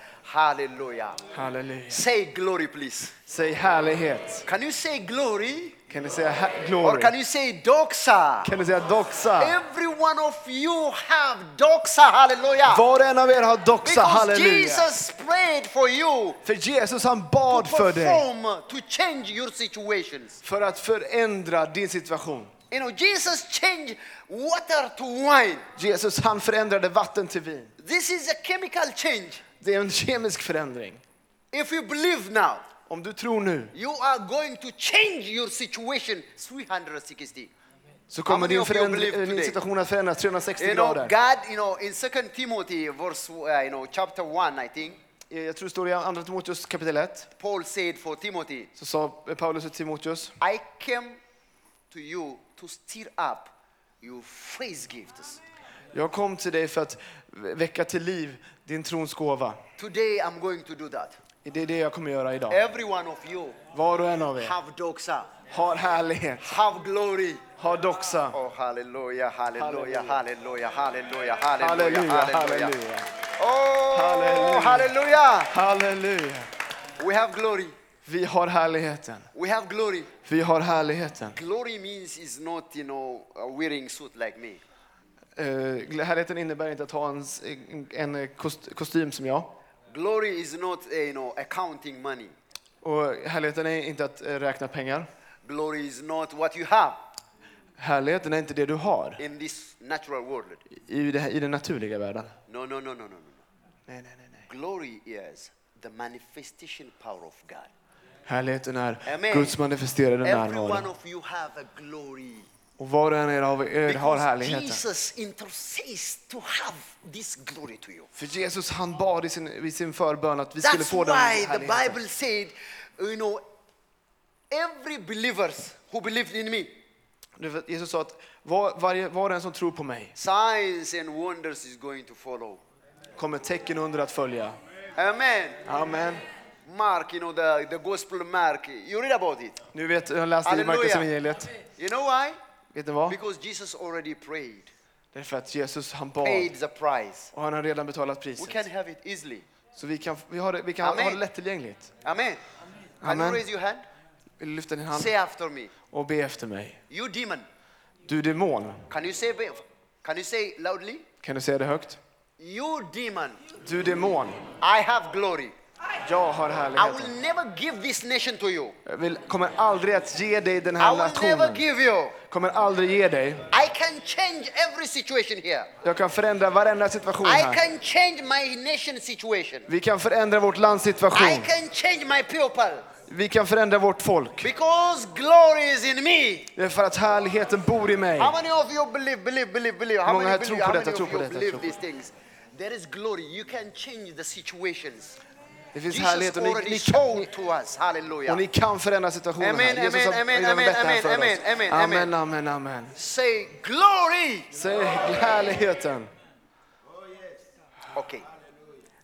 B: hallelujah.
A: Halleluja.
B: Say glory, please.
A: Säg härlighet.
B: Can you say glory?
A: Kan ni säga ha-
B: Or
A: glory?
B: can you say doxa?
A: Kan ni säga doxa?
B: Every one of you have doxa, hallelujah.
A: Var och en av er har doxa,
B: Because
A: halleluja.
B: Jesus prayed for you
A: För Jesus han
B: to
A: bad för dig
B: perform, to change your situations.
A: för att förändra din situation.
B: You know, Jesus changed water to wine.
A: Jesus han förändrade vatten till vin.
B: This is a chemical change.
A: Det är en kemisk förändring.
B: If you believe now,
A: Om du tror nu
B: you are going to change your situation 360.
A: så
B: How
A: kommer
B: many
A: din,
B: of you
A: förändring-
B: believe
A: eh, din
B: today?
A: situation att förändras 360
B: You know,
A: grader.
B: God, you know, in Second Timothy, verse, uh, you know, chapter 1, I think,
A: eh, jag tror det står i Andra Timoteus kapitel 1,
B: Paul said for Timothy,
A: så sa Paulus till Timoteus,
B: I came to you to stir up your praise gifts.
A: jag kom till dig för att väcka till liv din trons gåva.
B: Today I'm going to do that.
A: Det är det jag kommer göra idag.
B: Every one of you
A: Var och en av er
B: have doxa,
A: har härlighet,
B: have glory.
A: har doxa.
B: Oh, hallelujah, hallelujah,
A: Hallelujah.
B: hallelujah, hallelujah, hallelujah,
A: Halleluja,
B: hallelujah.
A: halleluja,
B: Oh,
A: Hallelujah.
B: hallelujah.
A: halleluja.
B: We have glory.
A: Vi har härligheten.
B: We have glory.
A: Vi har härligheten.
B: Glory means is not, you know, a wearing suit like me.
A: Uh, härligheten innebär inte att ha en, s- en eh, kost, kostym som jag.
B: Glory is not, eh, you know, accounting money.
A: Och härligheten är inte att eh, räkna pengar.
B: Glory is not what you have
A: Härligheten är inte det du har
B: in this natural world.
A: i, det, här- i den naturliga världen.
B: No, no, no, no, no, no. no.
A: Nej, nej, nej, nej.
B: Glory is the manifestation power of God.
A: Härligheten är
B: Amen.
A: Guds manifesterade
B: Every one
A: närvaro.
B: of you have a glory.
A: Och var och en er av er har
B: Because
A: härligheten.
B: Jesus intercedes to have this glory to you.
A: För Jesus han bad i sin, i sin förbön att vi skulle
B: That's
A: få den
B: why the
A: härligheten.
B: Bible said, you know, every believers who believed in me,
A: Du vet, Jesus sa att var, varje, var och en som tror på mig
B: signs and wonders is going to follow.
A: kommer tecken under att följa.
B: Amen.
A: Amen.
B: Mark, you know, the, the gospel of Mark, you read about it.
A: Nu vet jag läste i
B: Halleluja.
A: Markus evangeliet.
B: You know why?
A: Vet ni vad?
B: Because Jesus already prayed,
A: Det är för att Jesus han bad
B: paid the price.
A: och han har redan betalat
B: We
A: priset.
B: can have it easily.
A: Så vi kan, vi har det, vi kan ha-
B: Amen.
A: ha det lättillgängligt.
B: Amen. Can you
A: Amen.
B: raise your hand?
A: Vill du lyfta din hand
B: Say after me.
A: och be efter mig.
B: You demon.
A: Du demon,
B: Can you say can you say loudly?
A: kan du säga det högt?
B: You demon.
A: Du demon,
B: I have glory.
A: jag har
B: I will
A: härligheten.
B: never give this nation to you.
A: Jag vill, kommer aldrig att ge dig den
B: I
A: här
B: will never
A: nationen.
B: give you.
A: Kommer aldrig ge dig.
B: I can change every situation here.
A: Jag kan förändra varenda situation
B: I
A: här.
B: can change my nation situation.
A: Vi kan förändra vårt lands
B: I
A: situation.
B: can change my people
A: Vi kan förändra vårt folk.
B: because glory is in me.
A: Det är för att härligheten bor i mig.
B: How many of you believe, believe, believe, believe? How
A: Många
B: many,
A: här
B: believe,
A: tror
B: how
A: på
B: many
A: detta,
B: of
A: tror på
B: you
A: detta,
B: believe
A: tror på
B: these things? There is glory. You can change the situations.
A: Det finns
B: Jesus
A: härlighet och ni,
B: already
A: ni, kan,
B: showed to us.
A: och ni
B: Hallelujah.
A: kan förändra situationen
B: Amen,
A: här. Jesus har
B: amen,
A: redan
B: amen,
A: bett det här
B: amen,
A: för
B: amen,
A: oss.
B: amen, amen.
A: Amen, amen, amen.
B: Say glory.
A: Säg härligheten.
B: Okay.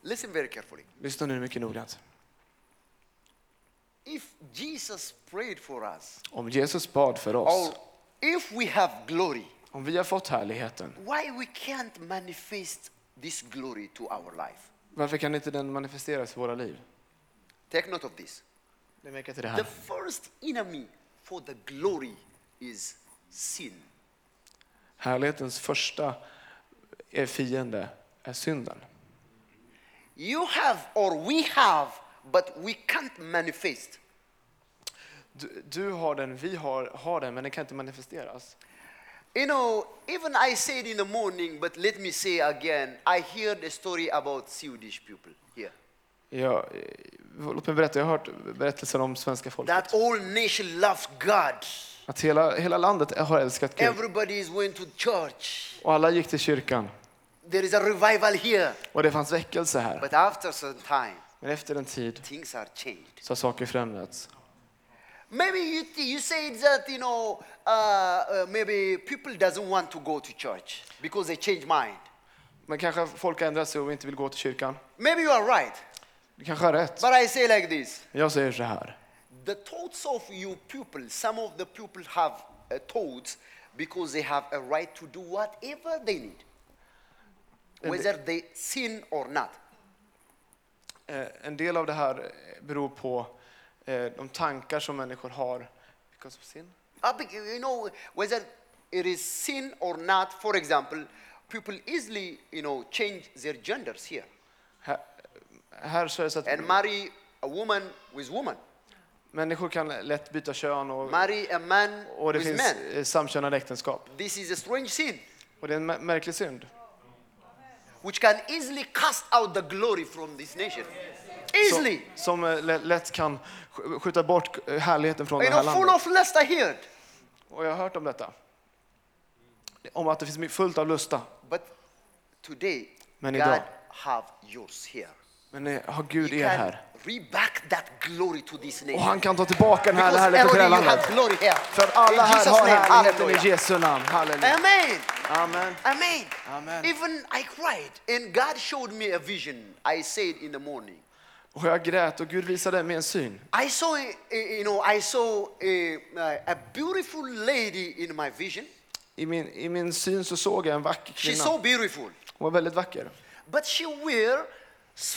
B: Listen very carefully.
A: Lyssna nu mycket noggrant.
B: If Jesus prayed for us,
A: Om Jesus bad för
B: or
A: oss,
B: if we have glory,
A: om vi har fått härligheten,
B: why we can't manifest this glory to our life?
A: varför kan inte den manifesteras i våra liv?
B: Take note of this.
A: Det märker till det
B: The
A: här.
B: first enemy for the glory is sin.
A: Härlighetens första eh, fiende är synden.
B: You have, or we have, but we can't manifest.
A: Du, du har den, vi har, har den, men den kan inte manifesteras.
B: You know, even I said in the morning, but let me say again, I heard a story about Swedish people here.
A: Jag, eh, låt mig berätta, jag har hört berättelser om svenska folket.
B: That all nation loved God.
A: Att hela, hela landet har älskat Gud.
B: Everybody is going to church.
A: Och alla gick till kyrkan.
B: There is a revival here.
A: Och det fanns väckelse här.
B: But after some time,
A: Men efter en tid
B: things are changed.
A: så har saker förändrats.
B: Maybe you, th- you say that, you know, uh, uh, maybe people doesn't want to go to church because they change mind.
A: Men kanske folk har ändrat sig och inte vill gå till kyrkan.
B: Maybe you are right.
A: Du kanske har rätt.
B: But I say like this.
A: Jag säger så här.
B: The thoughts of you people, some of the people have uh, thoughts because they have a right to do whatever they need, whether they sin or not.
A: Eh, En del av det här beror på eh, de tankar som människor har. Because of sin.
B: Uh, bec- You know, whether it is sin or not, for example, people easily, you know, change their genders here
A: Här, här så är det så att
B: and marry a woman with woman,
A: människor kan lätt byta kön och,
B: marry a man
A: och det
B: with
A: finns
B: man.
A: eh, samkönade äktenskap.
B: This is a strange sin
A: Och det är en mä- märklig synd.
B: which can easily cast out the glory from this nation.
A: Som,
B: Easily.
A: som eh, lä- lätt kan sk- skjuta bort eh, härligheten från
B: you
A: det
B: know,
A: här
B: full
A: landet.
B: of lust, I heard.
A: Och jag har hört om detta. Om att det finns my- fullt av lusta.
B: But today,
A: Men
B: God
A: idag.
B: have yours here.
A: Men eh, ja, Gud
B: He
A: är
B: can
A: här.
B: reback that glory to this
A: Och
B: nation.
A: han kan ta tillbaka den här
B: Because
A: härligheten till det här
B: already you
A: landet.
B: have glory here.
A: För alla
B: In
A: här
B: Jesus'
A: har
B: name,
A: härligheten i
B: hallelujah.
A: Jesu namn. Halleluja.
B: Amen.
A: Amen.
B: Amen.
A: Amen.
B: Even I cried, and God showed me a vision. I said in the morning,
A: Och jag grät och Gud visade mig en syn.
B: I saw, a, a- you know, I saw a, a beautiful lady in my vision.
A: I min, I min syn så såg jag en vacker
B: She's
A: kvinna.
B: so
A: Hon
B: beautiful,
A: var väldigt vacker.
B: but she wear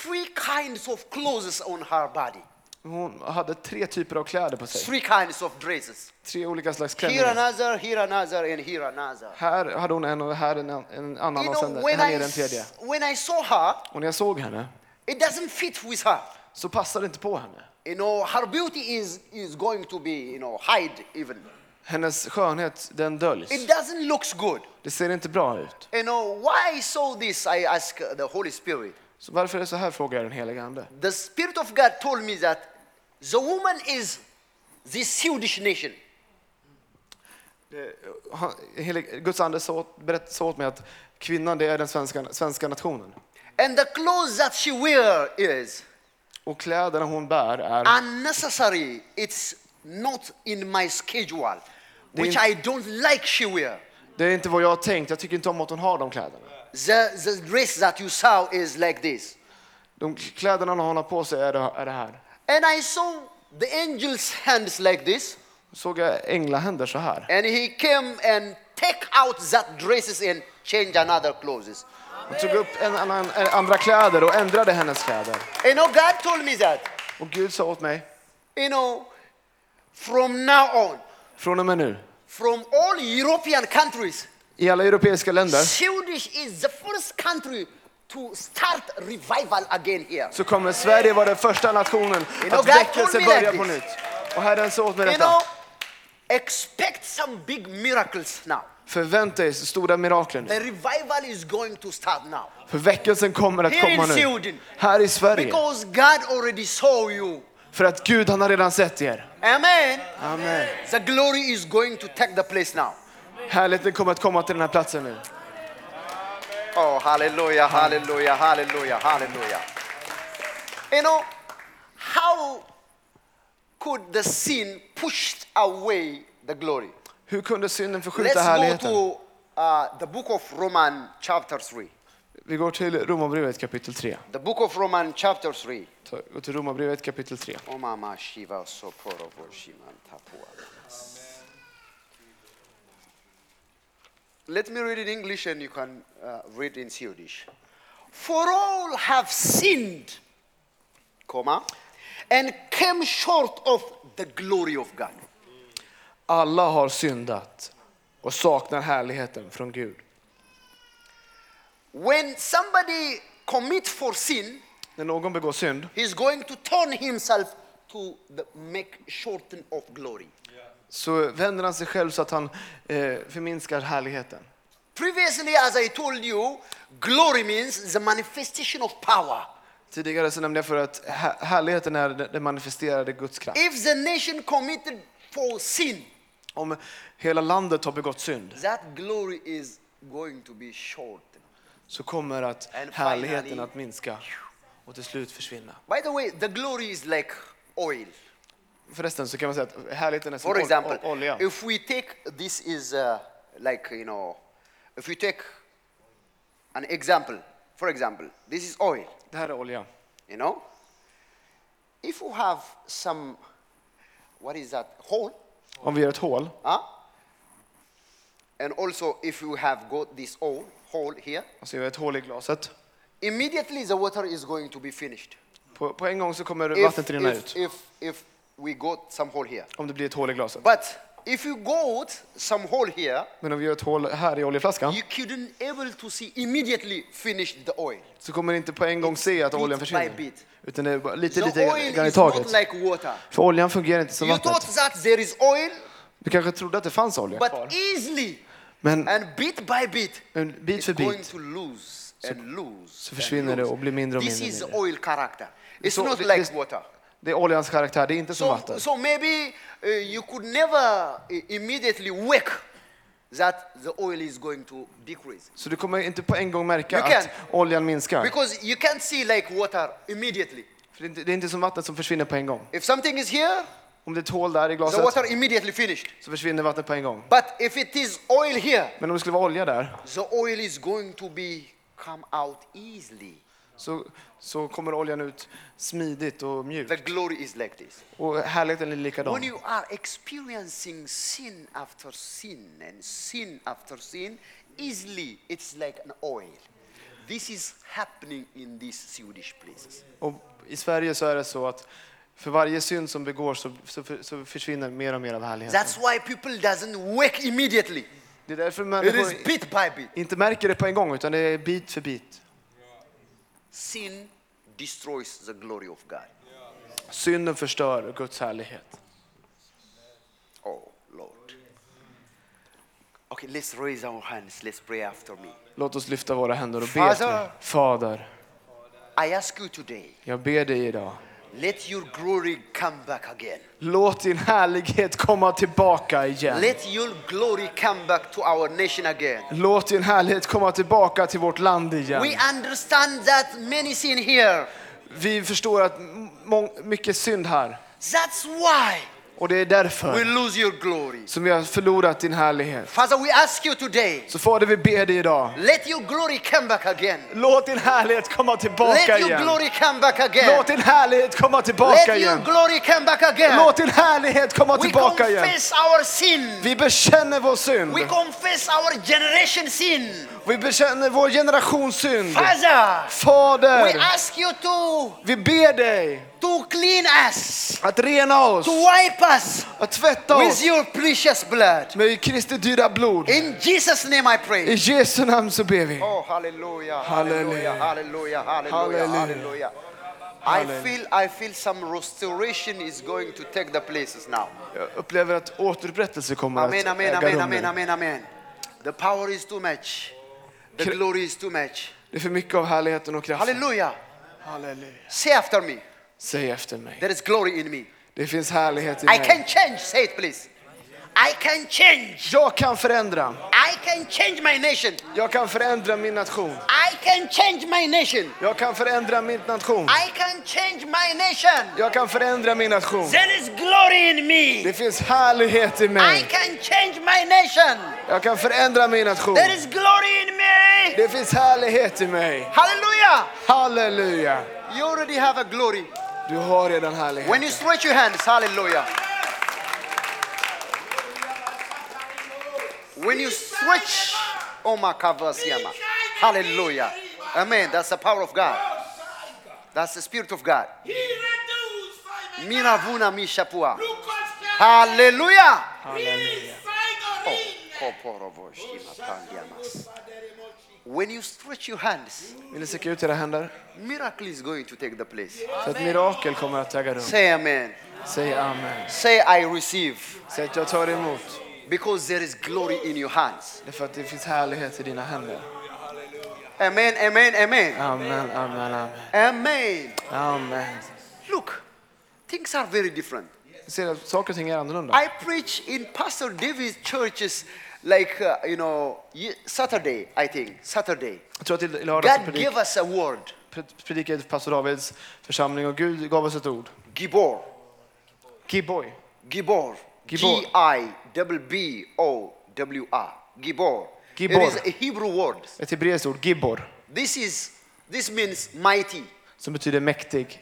B: three kinds of clothes on her body,
A: Hon hade tre typer av kläder på sig.
B: three kinds of dresses.
A: Tre olika slags
B: Here
A: klänningar.
B: another, here another, and here another.
A: Här hade hon en och här en, en annan
B: You
A: och sen
B: know, when
A: här
B: I,
A: nere en tredje.
B: s- when I saw her,
A: Och när jag såg henne
B: it doesn't fit with her.
A: så passade det inte på henne.
B: You know, her beauty is, is going to be, you know, hide even.
A: Hennes skönhet, den döljs.
B: It doesn't looks good.
A: Det ser inte bra ut.
B: You know, why I saw this, I asked the Holy Spirit.
A: Så varför är det så här, frågar jag den helige Ande.
B: The Spirit of God told me that the woman is this huge nation.
A: Han, helig, Guds ande sa åt, berätt, sa åt mig att kvinnan, det är den svenska, svenska nationen.
B: And the clothes that she wear is
A: Och kläderna hon bär är...
B: Ah. unnecessary. It's not in my schedule, which
A: in-
B: I don't like she wear.
A: Det är inte vad jag har tänkt. Jag tycker inte om att hon har de kläderna.
B: The, the dress that you saw is like this.
A: De kläderna hon har på sig är det, är det här.
B: And I saw the angel's hands like this.
A: Såg jag änglahänder så här.
B: And he came and take out that dresses and change another clothes.
A: Han tog upp en annan, en andra kläder och ändrade hennes kläder.
B: You know, God told me that.
A: Och Gud sa åt mig,
B: You know, from now on,
A: från och med nu,
B: from all European countries,
A: i alla europeiska länder
B: Swedish is the first country to start revival again here.
A: så kommer Sverige vara den första nationen
B: know,
A: att
B: God
A: väckelse
B: told me like
A: börjar på
B: this.
A: nytt. Och Herren sa åt mig
B: You know,
A: detta.
B: expect some big miracles now.
A: Förvänta dig så stora mirakler nu.
B: The revival is going to start now
A: För väckelsen kommer att
B: Here in
A: komma nu.
B: Sweden.
A: Här i Sverige.
B: because God already saw you.
A: För att Gud han har redan sett er.
B: Amen.
A: Amen.
B: The glory is going to take the place now.
A: Härligheten kommer att komma till den här platsen nu.
B: Oh, hallelujah, hallelujah, hallelujah, hallelujah. You know, how could the sin push away the glory?
A: Hur kunde synden
B: Let's
A: förskjuta härligheten?
B: go to uh, the book of Romans, chapter 3.
A: Vi går till Romarbrevet kapitel 3.
B: The book of Romans, chapter 3.
A: Ta- Gå till Romarbrevet kapitel 3.
B: Oh, Mama Shiva, Soporo, Voshiman, Tapua. Let me read in English and you can uh, read in Swedish. For all have sinned, comma, and came short of the glory of God.
A: Alla har syndat och saknar härligheten från Gud.
B: When somebody commit for sin,
A: När någon begår synd
B: he's going to turn himself to the make shorten of glory.
A: så vänder han sig själv så att han eh, förminskar härligheten.
B: Previously, as I told you, glory means the manifestation of power.
A: Tidigare så nämnde jag för att här- härligheten är den den manifesterade Guds kraft.
B: If the nation committed for sin,
A: Om hela landet har begått synd
B: that glory is going to be short.
A: så kommer att härligheten att minska och till slut försvinna.
B: By the way, the glory is like oil.
A: Förresten så kan man säga att härligheten är som
B: For
A: ol-
B: example,
A: ol- olja.
B: if we take this is uh, like you know, if we take an example, for example, this is oil.
A: Det här är olja.
B: You know, if you have some, what is that hole?
A: Om vi gör ett hål
B: Huh? And also, if you have got this hole, hole here,
A: och så alltså gör vi ett hål i glaset.
B: immediately the water is going to be finished.
A: På, på en gång så kommer
B: If,
A: vattnet rinna
B: if,
A: ut
B: if, if we got some hole here.
A: om det blir ett hål i glaset.
B: But if you got some hole here,
A: Men om vi gör ett hål här i oljeflaskan
B: you couldn't able to see immediately finish the oil.
A: så kommer ni inte på en gång se att
B: Bit
A: oljan
B: by
A: försvinner.
B: bit.
A: Utan det är bara lite,
B: The
A: lite
B: oil
A: grann i
B: is not
A: taget.
B: like water.
A: För oljan fungerar inte som
B: You thought
A: vattnet.
B: that there is oil,
A: Du kanske trodde att det fanns olja kvar.
B: but easily
A: Men
B: and bit by bit,
A: men bit
B: it's
A: för
B: going
A: bit
B: to lose and lose. Så
A: försvinner det och blir mindre och
B: This
A: mindre och
B: is
A: mindre.
B: oil character. It's
A: Så
B: not
A: det-
B: like
A: det-
B: water.
A: Det är oljans karaktär, det är inte som
B: So,
A: vatten.
B: so maybe uh, you could never uh, immediately wake that the oil is going to decrease.
A: Så du kommer inte på en gång märka
B: You
A: att
B: can.
A: oljan minskar.
B: Because you can't see like water immediately.
A: För det, är inte, det är inte som vattnet som försvinner på en gång.
B: If something is here,
A: Om det är ett hål där i
B: the
A: glaset
B: water immediately finished.
A: så försvinner vattnet på en gång.
B: But if it is oil here,
A: Men om det skulle vara olja där
B: the oil is going to be come out easily.
A: så, så kommer oljan ut smidigt och mjukt.
B: The glory is like this.
A: Och härligheten är likadan.
B: When you are experiencing sin after sin and sin after sin, easily it's like an oil. This is happening in these Swedish places.
A: Och I Sverige så är det så att för varje synd som begås så, så, för- så försvinner mer och mer av härligheten.
B: That's why people doesn't wake immediately.
A: Det är därför
B: It is
A: människor
B: bit by bit.
A: inte märker det på en gång utan det är bit för bit.
B: Sin destroys the glory of God.
A: Synden förstör Guds härlighet.
B: Oh Lord. Okay, let's raise our hands. Let's pray after me.
A: Låt oss lyfta våra händer och be. till dig.
B: Father.
A: Fader,
B: I ask you today,
A: jag ber dig idag.
B: let your glory come back again.
A: Låt din härlighet komma tillbaka igen.
B: Let your glory come back to our nation again.
A: Låt din härlighet komma tillbaka till vårt land igen.
B: We understand that many sin here.
A: Vi förstår att m- mång- mycket synd här
B: That's why
A: och det är
B: we
A: därför
B: lose your glory.
A: som vi har förlorat din härlighet.
B: Father, we ask you today,
A: Så Fader, vi ber dig idag.
B: let your glory come back again.
A: Låt din härlighet komma tillbaka
B: Let your
A: igen.
B: glory come back again.
A: Låt din härlighet komma tillbaka
B: Let your
A: igen.
B: glory come back again.
A: Låt din härlighet komma
B: We
A: tillbaka igen.
B: confess our sin.
A: Vi bekänner vår synd.
B: We confess our generation sin.
A: Vi bekänner vår generations synd.
B: Father, we
A: Fader,
B: ask you to,
A: vi ber dig
B: to clean us,
A: att rena oss,
B: to wipe us
A: att tvätta
B: with
A: oss
B: your precious blood.
A: med Kristi dyra blod.
B: In Jesus' name I
A: I
B: pray.
A: Jesu namn så ber vi.
B: Oh, hallelujah,
A: Hallelujah.
B: hallelujah, hallelujah,
A: Hallelujah.
B: hallelujah, hallelujah. I
A: Hallelujah.
B: feel, I feel some restoration is going to take the places now.
A: Jag upplever att återupprättelse kommer att
B: Amen, amen,
A: äga
B: amen,
A: rum
B: amen,
A: nu.
B: amen, amen. The power is too much. The
A: Cre-
B: glory is too much.
A: Det är för mycket av härligheten och kraften.
B: Hallelujah.
A: Halleluja.
B: Say after me.
A: Säg efter mig.
B: There is glory in me.
A: Det finns härlighet i
B: I can
A: mig.
B: change. Say it, please. I can change.
A: Jag kan förändra.
B: I can change my nation.
A: Jag kan förändra min nation.
B: I can change my nation.
A: Jag kan förändra min nation.
B: I can change my nation.
A: Jag kan förändra min nation.
B: There is glory in me.
A: Det finns härlighet i
B: I
A: mig.
B: can change my nation.
A: Jag kan förändra min nation.
B: There is glory in me.
A: Det finns härlighet i mig.
B: Hallelujah.
A: Halleluja!
B: You already have a glory.
A: Du har redan härlighet.
B: When you stretch your hands, hallelujah. When you stretch, oh my kavasiyama. Hallelujah. Amen. That's the power of God. That's the spirit of God. Miravuna mishapua. Hallelujah. Oh, Koporovoshima pandiamas. When you stretch your hands,
A: Vill ni sträcka ut era händer?
B: miracle is going to take the place.
A: För ett mirakel kommer att äga rum.
B: Say amen.
A: Säg amen.
B: Say I receive.
A: Säg att jag tar emot.
B: Because there is glory in your hands.
A: Därför att det finns härlighet i dina händer.
B: Amen, amen, amen.
A: Amen, amen, amen.
B: Amen.
A: Amen.
B: Look, things are very different.
A: Du ser att saker och ting är annorlunda.
B: I preach in Pastor David's churches like, uh, you know, ye- Saturday, I think. Saturday.
A: Jag tror att i lördags så
B: God
A: predik-
B: gave us a word,
A: pre- predikade pastor Davids församling och Gud gav oss ett ord.
B: Gibor.
A: Gibboj.
B: Gibor.
A: Gibor.
B: G I B B O W R. Gibor.
A: Gibor.
B: It is a Hebrew word.
A: Ett hebreiskt ord, gibbor,
B: This is this means mighty.
A: som betyder mäktig.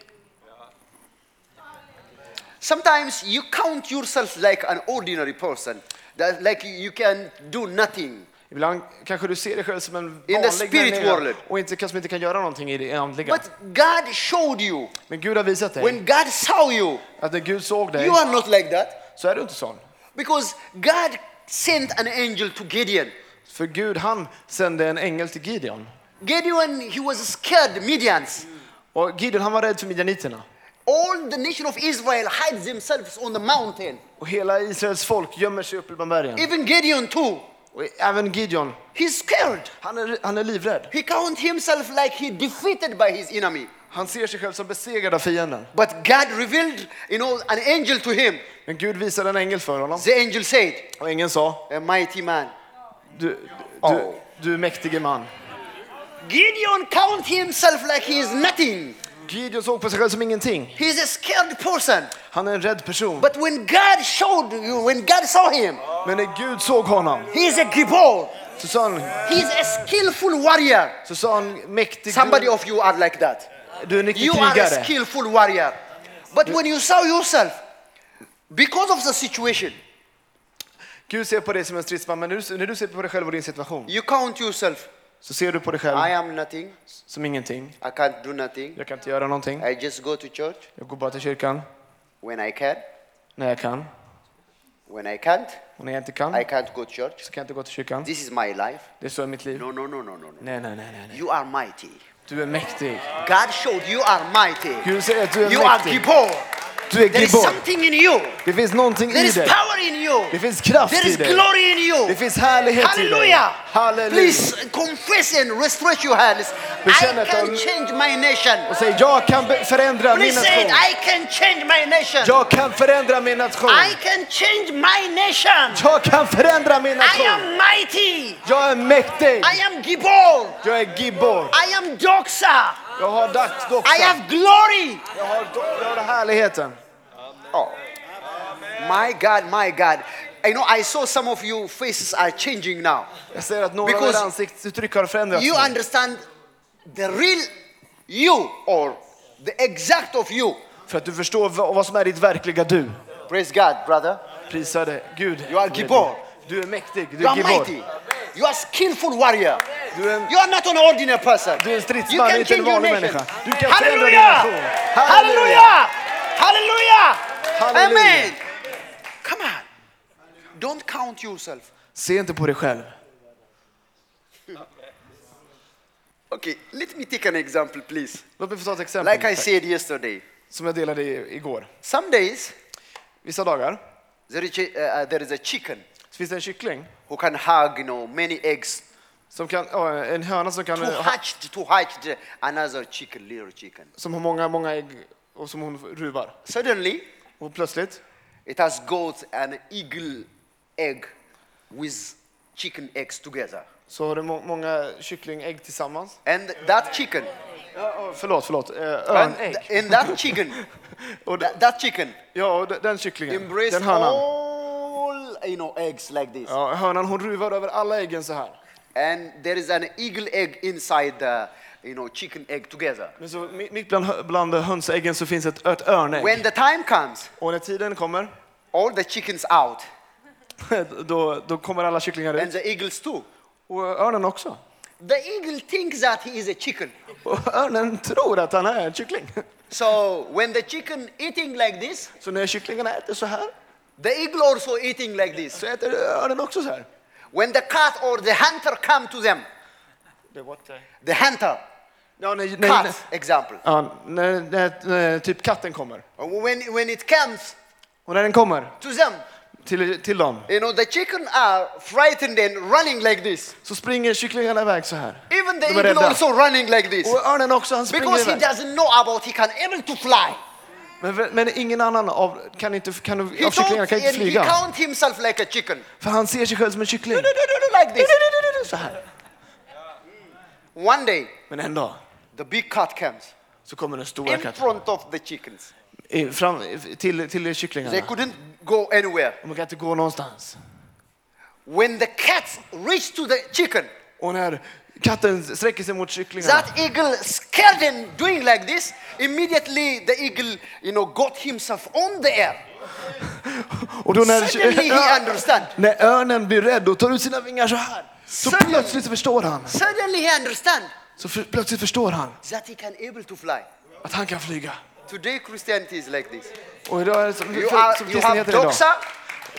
B: Sometimes you count yourself like an ordinary person, that like you can do nothing.
A: Ibland kanske du ser dig själv som en
B: the
A: vanlig
B: spirit
A: människa
B: world.
A: och inte, kanske inte kan göra någonting i det andliga.
B: But God showed you.
A: Men Gud har visat dig
B: When God saw you,
A: att när Gud såg dig
B: you are not like that.
A: så är du inte sån.
B: Because God sent an angel to Gideon.
A: För Gud han sände en ängel till Gideon.
B: Gideon, he was scared, Midians.
A: Och Gideon han var rädd för midjaniterna.
B: All the nation of Israel hides themselves on the mountain.
A: Och hela Israels folk gömmer sig uppe bland bergen.
B: Even Gideon too.
A: Och även Gideon,
B: He's scared.
A: han är, han är livrädd.
B: He count himself like he defeated by his enemy.
A: Han ser sig själv som besegrad av fienden.
B: But God revealed, you know, an angel to him.
A: Men Gud visade en ängel för honom.
B: The angel said,
A: Och ängeln sa,
B: a mighty man,
A: Du, du,
B: Oh.
A: du mäktige man.
B: Gideon count himself like he is nothing.
A: Gideon såg på sig själv som ingenting.
B: He's a scared person.
A: Han är en rädd person.
B: But when God showed you, when God saw him,
A: Men när Gud såg honom
B: he is a gibor.
A: så sa han,
B: He's a skillful warrior.
A: så sa han mäktig
B: Somebody
A: du,
B: of you are like that.
A: du är en riktig
B: You are a
A: krigare.
B: skillful warrior. But when you saw yourself, because of the situation,
A: Gud ser på dig som en stridsman, men när du, när du ser på dig själv och din situation
B: you count yourself.
A: så ser du på dig
B: I
A: själv
B: am nothing.
A: som ingenting.
B: I can't do nothing.
A: Jag kan inte göra någonting.
B: I just go to church
A: Jag går bara till kyrkan
B: when I can.
A: när jag kan.
B: When I can't,
A: Och när jag inte kan
B: I can't go to church.
A: så kan jag inte gå till kyrkan.
B: This is my life.
A: Det är så i mitt liv.
B: No, no, no, no, no, no.
A: Nej, nej, nej, nej. nej.
B: You are mighty.
A: Du är mäktig.
B: God showed you are mighty.
A: Gud säger att du
B: You are
A: är mäktig.
B: Gibor.
A: Du är
B: There is
A: Gibor.
B: something in you.
A: Det finns någonting
B: There
A: i
B: is
A: dig.
B: power in you.
A: Det finns kraft
B: There
A: i
B: is
A: dig.
B: glory in
A: Det
B: you.
A: finns härlighet i dig.
B: Hallelujah.
A: Halleluja.
B: Please confess and restretch your hands.
A: Bekänn
B: I
A: att
B: can
A: de-
B: change my nation.
A: Och säg, jag kan be- förändra min
B: Please say it.
A: nation.
B: I can change my nation.
A: Jag kan förändra min nation.
B: I can change my nation.
A: Jag kan förändra min
B: I
A: nation.
B: am mighty.
A: Jag är mäktig.
B: I am Gibor.
A: Jag är Gibor.
B: I am Doxa.
A: Jag har
B: I
A: dagsdoxan.
B: have glory.
A: Jag har, jag har härligheten.
B: Oh. My God, my God. I know I saw some of you faces are changing now.
A: Jag ser att några av
B: Because
A: era ansiktsuttryck har förändrats.
B: You
A: nu.
B: understand the real you or the exact of you.
A: För att du förstår vad, vad som är ditt verkliga du.
B: Praise God, brother.
A: Prisade Gud.
B: You are Gibor.
A: Du är mäktig. Du
B: You
A: är
B: are
A: Gibor.
B: mighty. You are skillful warrior.
A: Du är en
B: You are not an ordinary person.
A: Du är en
B: You
A: stridsman,
B: can
A: inte en
B: change your
A: vanlig
B: nation.
A: människa. Du kan förändra din nation.
B: Hallelujah! Hallelujah! Hallelujah!
A: Hallelujah.
B: Amen. Come on. Don't count yourself.
A: Se inte på dig själv.
B: Okay, let me take an example, please.
A: Låt mig få ta ett exempel
B: Like I said yesterday,
A: som jag delade i- igår.
B: some days
A: Vissa dagar
B: there is, a, uh, there is a chicken
A: så finns det en kyckling,
B: who can hug, you know, many eggs
A: som kan, ja, en höna som, kan,
B: to
A: ha,
B: hatch to hatch the- another chicken, little chicken.
A: som har många, många ägg och som hon ruvar.
B: Suddenly,
A: Och plötsligt
B: it has got an eagle egg with chicken eggs together,
A: så har du må, många kycklingägg tillsammans.
B: and that chicken,
A: Ja, ja, förlåt, förlåt. Eh,
B: and,
A: Örnägg.
B: th- and that chicken,
A: Och de,
B: that, that chicken
A: ja, och de- den kycklingen,
B: embraced
A: den hönan.
B: all you know eggs like this,
A: Ja, hönan hon ruvar över alla äggen så här.
B: and there is an eagle egg inside the you know chicken egg together.
A: Men så mi- mitt bland, hö- bland hönsäggen så finns ett, ett örnägg.
B: When the time comes,
A: Och när tiden kommer,
B: all the chickens out,
A: då, då kommer alla kycklingar
B: and
A: ut.
B: the eagles too.
A: Och örnen också.
B: The eagle thinks that he is a chicken.
A: Och örnen tror att han är en kyckling.
B: So when the chicken eating like this,
A: Så när kycklingarna äter så här,
B: the eagle also eating like this.
A: så äter örnen också så här.
B: When the cat or the hunter come to them, the hunter,
A: Ja, när, när,
B: cat example.
A: ja, när, när, när typ katten kommer.
B: When, when it comes
A: Och när den kommer
B: to them,
A: till, till dem
B: you know, the chicken are frightened and running like this.
A: så springer kycklingarna iväg så här.
B: Even the
A: De är
B: eagle
A: rädda.
B: also running like this.
A: Och örnen också, han springer
B: Because he
A: iväg.
B: doesn't know about he can able to fly.
A: Men, men ingen annan av, kan inte, kan,
B: He
A: av kycklingarna
B: thought
A: kan inte
B: and he
A: flyga.
B: count himself like a chicken.
A: För han ser sig själv som en kyckling.
B: Like this.
A: Så här.
B: One day,
A: Men en dag
B: the big cat comes
A: så kommer den stora
B: in
A: katten
B: front of the chickens.
A: i- fram, till, till kycklingarna.
B: They couldn't go anywhere.
A: De kan inte gå någonstans.
B: When the cats reach to the chicken,
A: Och när katten sträcker sig mot kycklingarna
B: that eagle scared and doing like this, immediately the eagle, you know, got himself on the air.
A: och då när,
B: Suddenly he understand.
A: när örnen blir rädd och tar ut sina vingar så här så
B: Suddenly-
A: plötsligt förstår han.
B: Suddenly he understand
A: Så för, plötsligt förstår han
B: that he can able to fly.
A: att han kan flyga.
B: Today Christianity is like this.
A: Och idag är det som,
B: You
A: för,
B: are,
A: som
B: you have
A: kristenheten idag.
B: doxa,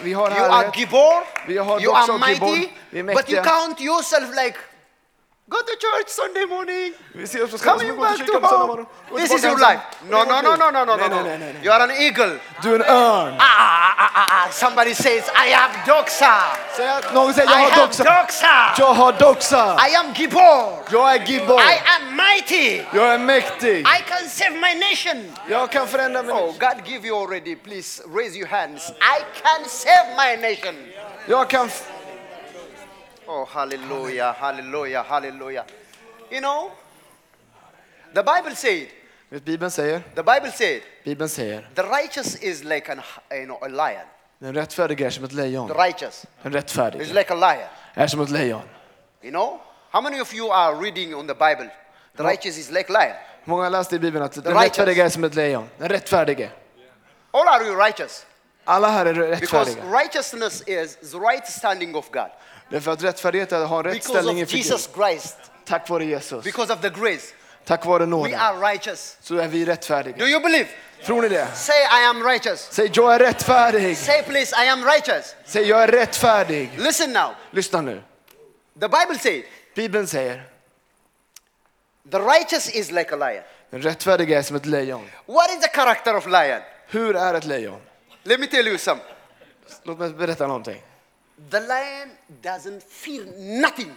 A: Vi har
B: you are
A: härlighet.
B: gibor,
A: Vi har
B: you
A: doxa
B: are
A: och gibor.
B: mighty,
A: Vi är
B: but you
A: mäktiga.
B: count yourself like, go to church Sunday morning.
A: Vi ser oss på skolan
B: Coming
A: som går
B: back
A: till
B: to
A: kyrkan på söndag
B: home.
A: morgon. Gå
B: This
A: tillbaka
B: is your
A: ensam.
B: life. No,
A: Det är
B: no,
A: vårt
B: no,
A: liv.
B: no, no, no,
A: Nej,
B: no,
A: nej, nej,
B: no.
A: nej.
B: You are an eagle.
A: Du är en örn.
B: Ah, ah, ah, ah, ah. Somebody says, I am doxa.
A: Säg att- Någon säger
B: I
A: jag har
B: am
A: doxa.
B: doxa.
A: Jag har doxa.
B: I am gibor.
A: Jag är gibbor.
B: I am mighty.
A: Jag är mäktig.
B: I can save my nation.
A: Jag kan förändra min
B: Oh, God give you already. Please raise your hands. I can save my nation.
A: Jag kan... f-
B: Oh, hallelujah, hallelujah, hallelujah. You know, the Bible said,
A: Vet Bibeln säger?
B: the Bible said,
A: Bibeln säger,
B: the righteous is like an, you know, a lion.
A: den rättfärdige är som ett lejon.
B: The righteous
A: Den
B: is
A: rättfärdige
B: like a lion.
A: är som ett lejon.
B: You know, how many of you are reading on the Bible? The righteous is like lion.
A: Hur Många har läst i Bibeln att den
B: righteous.
A: rättfärdige är som ett lejon. Den rättfärdige.
B: All are you righteous?
A: Alla här är
B: Because
A: rättfärdiga.
B: righteousness is the right standing of God.
A: Därför att rättfärdighet är att ha en rätt
B: Because
A: ställning
B: of
A: inför
B: Jesus
A: Gud.
B: Christ,
A: Tack vare Jesus.
B: because of the grace,
A: Tack vare
B: we
A: nåden
B: are righteous.
A: så är vi rättfärdiga.
B: Do you believe?
A: Tror ni det?
B: Say, I am righteous.
A: Säg jag är rättfärdig.
B: Say, please, I am righteous.
A: Säg jag är rättfärdig.
B: Listen now.
A: Lyssna nu.
B: The Bible said,
A: Bibeln säger
B: the righteous is like a lion.
A: den rättfärdige är som ett lejon.
B: What is the character of lion?
A: Hur är ett lejon?
B: Let me tell you something.
A: Låt mig berätta någonting.
B: The lion doesn't fear nothing.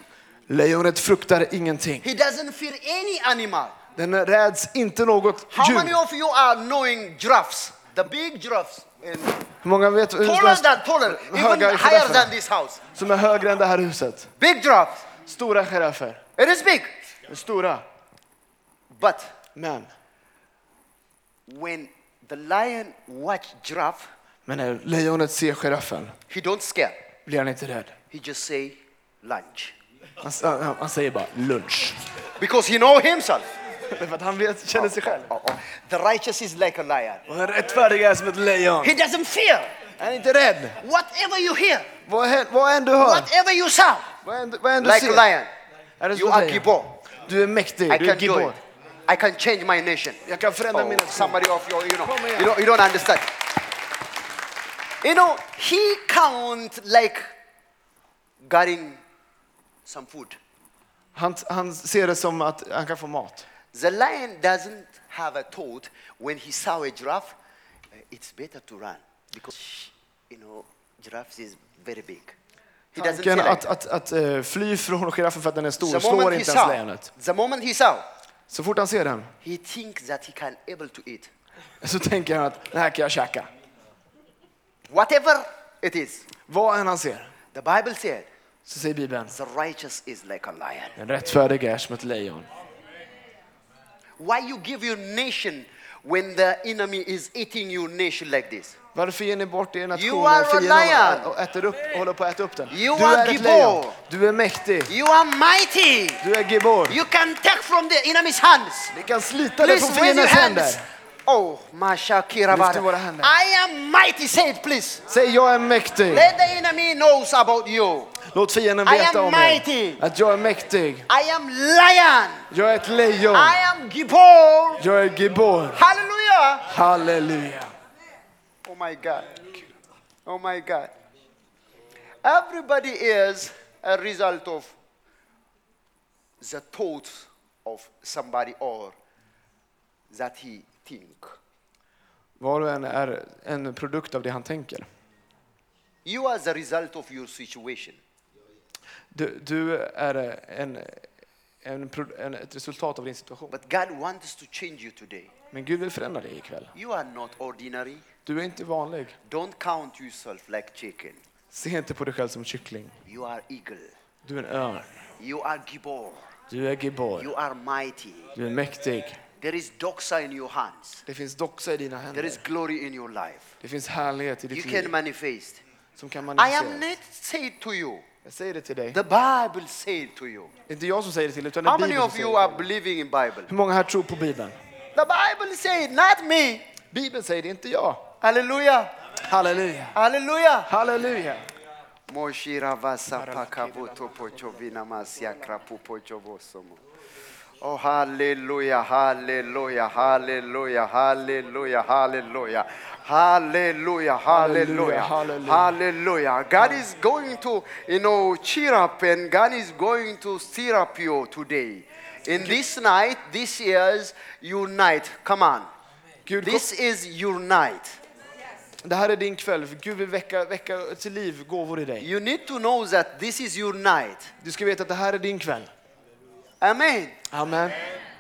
A: Lejonet fruktar ingenting.
B: He doesn't fear any animal.
A: Den räds inte något
B: How many
A: djur.
B: of you are knowing giraffes? The big giraffes. And
A: Hur många vet hur
B: taller than taller, even
A: Höga
B: higher
A: giraffer.
B: than this house.
A: som är högre än det här huset?
B: Big giraffes.
A: Stora giraffer.
B: It is big.
A: Stora.
B: But
A: Men,
B: when the lion watch giraffe,
A: men när lejonet ser giraffen
B: he don't scare.
A: blir han inte rädd.
B: He just say lunch.
A: Han, han, han säger bara lunch.
B: Because he know himself.
A: För att han vet, känner sig själv.
B: Oh, oh. The righteous is like a lion.
A: Och den rättfärdiga är som ett lejon.
B: He doesn't fear.
A: Han är inte rädd.
B: Whatever you hear,
A: Vad, hän- vad än du hör,
B: whatever you sound,
A: vad än, du- vad än du
B: like a
A: ser.
B: lion,
A: Är det
B: you
A: som
B: are
A: ett lejon.
B: gibor.
A: Du är mäktig,
B: I
A: du är
B: can do
A: gibor.
B: it. I can change my nation.
A: Jag kan förändra
B: Oh,
A: mina skor.
B: somebody of your, you know,
A: Kom igen.
B: you don't, you don't understand. You know, he count like getting some food.
A: Han, han ser det som att han kan få mat.
B: The lion doesn't have a thought when he saw a giraffe. uh, It's better to run because you know giraffes is very big. He doesn't feel
A: Tanken
B: like
A: att,
B: that.
A: att, att eh, fly från giraffen för att den är stor
B: the
A: slår
B: moment he
A: inte ens
B: saw,
A: lejonet.
B: the moment he saw,
A: Så fort han ser den
B: he thinks that he can able to eat
A: så tänker han att den här kan jag käka.
B: whatever it is.
A: Vad än han ser
B: The Bible said
A: så säger Bibeln,
B: the righteous is like a lion.
A: den rättfärdige är som ett lejon.
B: Why you give your nation when the enemy is eating your nation like this?
A: Varför ger ni bort er
B: You are
A: nationer?
B: a
A: Fienden håller-
B: lion.
A: och äter upp, håller på att äta upp den.
B: You
A: du
B: are
A: är ett
B: Gibor.
A: lejon. Du är mäktig.
B: You are mighty.
A: Du är Gibor.
B: You can take from the enemy's hands.
A: Ni kan slita det
B: Please
A: från
B: raise your
A: fiendens händer.
B: hands. Oh, Masha
A: Lyft våra händer.
B: Kirabara. I am mighty. Say it, please.
A: Säg jag är mäktig.
B: Let the enemy knows about you.
A: Låt fienden
B: I
A: veta
B: am
A: om er.
B: mighty.
A: Att jag är mäktig.
B: I am lion.
A: Jag är ett lejon.
B: I am Gibor.
A: Jag är Gibor.
B: Hallelujah.
A: Halleluja.
B: Oh my God. Oh my God. Everybody is a result of the thoughts of somebody or that he think.
A: Var och en är en produkt av det han tänker.
B: You are the result of your situation.
A: Du, du är en, en, pro- en, ett resultat av din situation.
B: But God wants to change you today.
A: Men Gud vill förändra dig ikväll.
B: You are not ordinary.
A: Du är inte vanlig.
B: Don't count yourself like chicken.
A: Se inte på dig själv som kyckling.
B: You are eagle.
A: Du är en örn.
B: You are gibor.
A: Du är Gibor.
B: You are mighty.
A: Du är mäktig.
B: There is doxa in your hands.
A: Det finns doxa i dina
B: There is
A: händer.
B: glory in your life.
A: Det finns härlighet i
B: You
A: ditt
B: can
A: liv
B: manifest.
A: som kan
B: I am
A: manifesteras.
B: not saying to you.
A: Jag säger det till dig.
B: The Bible said to you.
A: Det är inte jag som säger det till dig, utan det
B: How
A: är
B: many
A: Bibeln som
B: of
A: säger
B: you
A: det.
B: are believing in Bible?
A: Hur många här tror på Bibeln?
B: The Bible said, not me.
A: Bibeln säger det, inte jag.
B: Hallelujah.
A: Halleluja.
B: Hallelujah.
A: Halleluja.
B: Moshira vasa pakabuto pochovina masia krapu pochovosomo. Oh, hallelujah, hallelujah, hallelujah, hallelujah, hallelujah, hallelujah, hallelujah,
A: hallelujah.
B: hallelujah. God is going to, you know, cheer up and God is going to stir up you today. In this night, this is your night. Come on.
A: Gud,
B: This is your night.
A: det här är din kväll. för Gud vill väcka, väcka till liv gåvor i dig.
B: You need to know that this is your night.
A: Du ska veta att det här är din kväll.
B: Amen.
A: Amen.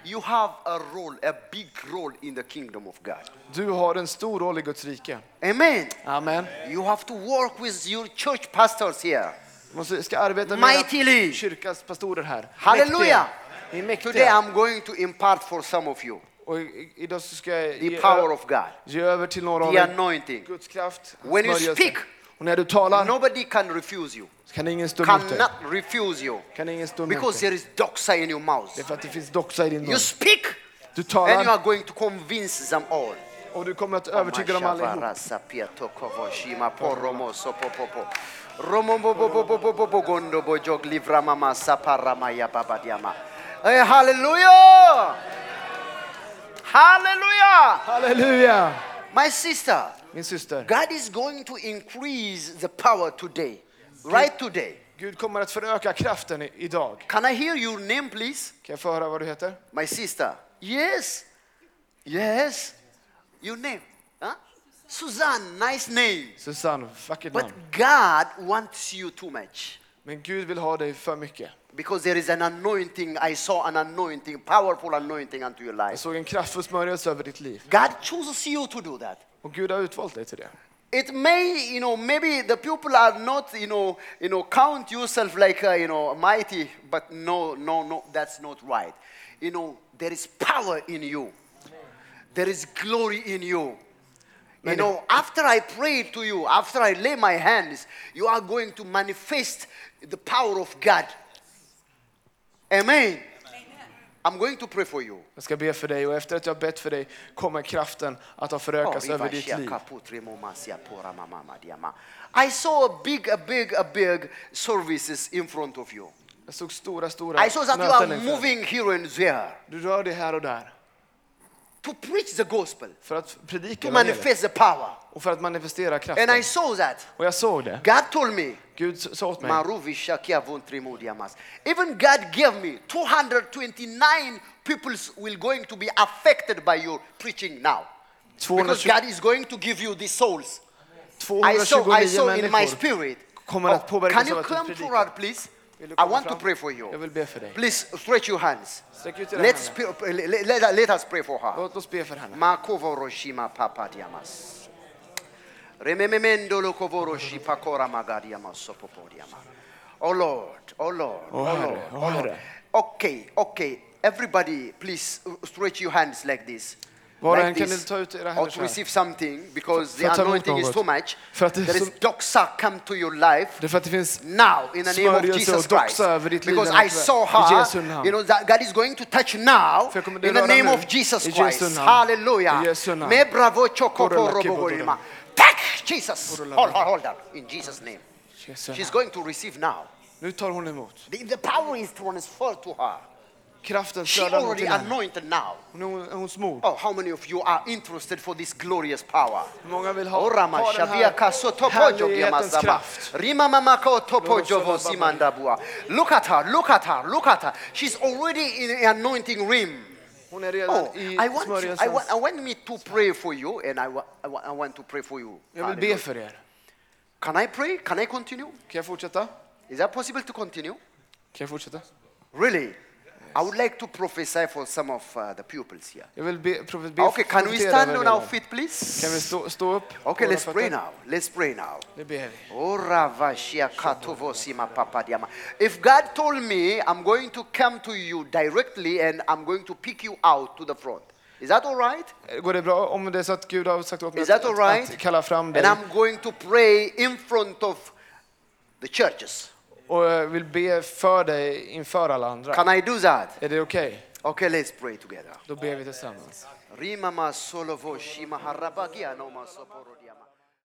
B: You have a role, a big role in the kingdom of God.
A: Du har en stor roll i Guds rike.
B: Amen.
A: Amen.
B: You have to work with your church pastors here.
A: måste, ska arbeta
B: Mightily.
A: kyrkans pastorer här.
B: Hallelujah.
A: Mäktiga. Ni är
B: Today
A: mäktiga.
B: I'm going to impart for some of you
A: Och i- idag så ska jag
B: the
A: ge,
B: power of God,
A: ge över till några av
B: the
A: er
B: anointing.
A: Guds kraft. hans
B: When you
A: smörjelse.
B: speak,
A: och när du talar
B: Nobody can refuse you,
A: så kan ingen stå emot dig.
B: cannot refuse you,
A: Kan ingen stå emot
B: because
A: dig.
B: there is doxa in your
A: Det är
B: mouth.
A: för att det finns doxa i din mun.
B: You speak,
A: Du
B: and you
A: talar
B: are going to convince them all.
A: och du kommer att övertyga dem
B: Oh
A: allihop.
B: Amashavarasa pia tokovo shima poromo sopopopo. Romombo bo bo bo bo bo bo gondo bo jog livra mama saparama ya babadiama. Hey, hallelujah! Hallelujah!
A: Halleluja!
B: My sister,
A: Min syster,
B: God is going to increase the power today, right today.
A: Gud kommer att föröka kraften i- idag.
B: Can I hear your name, please?
A: Kan jag få höra vad du heter?
B: My sister. Yes. Yes. Your name. Huh? Suzanne, nice name.
A: Susanne, vackert
B: But
A: namn.
B: God wants you too much
A: Men Gud vill ha dig för mycket.
B: because there is an anointing. I saw an anointing, powerful anointing unto your
A: Jag
B: life.
A: såg en kraftfull smörjelse över ditt liv.
B: God chooses you to do that.
A: Och Gud har utvalt dig till det.
B: It may, you know, maybe the people are not, you know, you know, count yourself like, uh, you know, mighty, but no, no, no, that's not right. You know, there is power in you. There is glory in you. You know, after I pray to you, after I lay my hands, you are going to manifest the power of God. Amen. I'm going to pray for you.
A: Jag ska be för dig och efter att jag har bett för dig kommer kraften att ha
B: Oh,
A: förökats över ditt liv.
B: I saw a big, a big, a big services in front of you.
A: Jag såg stora, stora
B: I saw that you
A: möten
B: are
A: inför dig.
B: moving here and there
A: Du rör dig här och där
B: to preach the gospel,
A: för att predika
B: to
A: evangeliet
B: manifest the power.
A: och för att manifestera
B: And I
A: kraften.
B: saw that.
A: Och jag såg det.
B: God told me,
A: Gud sa åt mig.
B: Maruvi Shakia Vontrimo Diamas. Even God gave me 229 people will going to be affected by your preaching now. Because
A: 220
B: God is going to give you the souls. I saw, I
A: 229
B: saw in my
A: människor.
B: spirit. Oh,
A: kommer att påverkas
B: can you
A: av att du
B: come
A: predikar.
B: forward, please?
A: Vill du
B: I
A: komma
B: want to
A: fram?
B: pray for you.
A: Jag vill be för dig.
B: Please stretch your hands.
A: Sträck ut era
B: Let's
A: händer.
B: pray- let, let- let us pray for her.
A: Låt oss be för henne.
B: Makovo Roshima Papadiamas. Rememendo Lokovo Roshi Pakora Magadiamas Sopopodiama. Oh Lord, oh Lord, oh,
A: Åh, Herre,
B: Lord,
A: åh,
B: oh Lord.
A: Herre.
B: Okay, okay. Everybody, please stretch your hands like this.
A: Var och
B: Like
A: en kan
B: this.
A: ni ta ut era
B: Or
A: händer
B: to
A: så här.
B: receive something because
A: För
B: the
A: att ta emot
B: anointing is
A: något.
B: too much.
A: För att det är
B: There is
A: så-
B: doxa come to your life
A: Det är för att det finns
B: now in the name of
A: Smörjelse
B: Jesus
A: och doxa
B: Christ.
A: över ditt liv
B: Because
A: denna
B: I saw
A: kväll. I Jesu
B: her,
A: namn.
B: you know, that God is going to touch now
A: För jag kommer
B: in the
A: beröra
B: name
A: nu.
B: of Jesus
A: I Jesu
B: Christ.
A: namn.
B: Hallelujah.
A: I Jesu namn.
B: Me bravo choco
A: Korola
B: poro
A: kibo
B: bogorima.
A: dora.
B: Touch Jesus. Hold,
A: Korola
B: hold,
A: bogorima.
B: hold on. In Jesus' name.
A: Jesu namn.
B: She's going to receive now.
A: Nu tar hon emot.
B: The, the power is transferred to her.
A: Kraften
B: She
A: flödar mot
B: already
A: din hand.
B: anointed now.
A: Hon är hon smord.
B: Oh, how many of you are interested for this glorious power?
A: Hur många vill ha,
B: Orama
A: ha den
B: shavia kaso topojo
A: härlighetens
B: giamasaba.
A: kraft?
B: Rima mama ko topojo
A: Lorosova
B: vosimandabua. Look at her, look at her, look at her. She's already in the anointing rim.
A: Hon är redan
B: Oh,
A: i
B: I want, you, I, want, oh.
A: smörjelsens...
B: I want me to pray for you and I, wa- I, wa- I want to pray for you.
A: Jag vill
B: Hallelujah.
A: be för er.
B: Can I pray? Can I continue?
A: Kan jag fortsätta?
B: Is that possible to continue?
A: Kan jag fortsätta?
B: Really? I would like to prophesy for some of uh, the pupils here.
A: Jag vill be, be, be
B: Okay, can we
A: profetera
B: stand
A: över
B: on
A: er.
B: our feet, please?
A: Kan vi stå, stå upp? på
B: Okay,
A: våra
B: let's pray
A: fötter?
B: now. Let's pray now.
A: Det ber vi.
B: Ora vashia katovo sima papadiama. If God told me I'm going to come to you directly and I'm going to pick you out to the front, is that all right?
A: Går det bra om det är så att Gud har sagt åt mig
B: Is
A: att,
B: that all
A: att,
B: right?
A: att kalla fram dig
B: And I'm going to pray in front of the churches.
A: och jag vill be för dig inför alla andra?
B: Can I do that?
A: Är det okej?
B: Okay, let's pray together.
A: Då ber vi tillsammans.
B: Rimama solovo shima harabagia noma soporodia.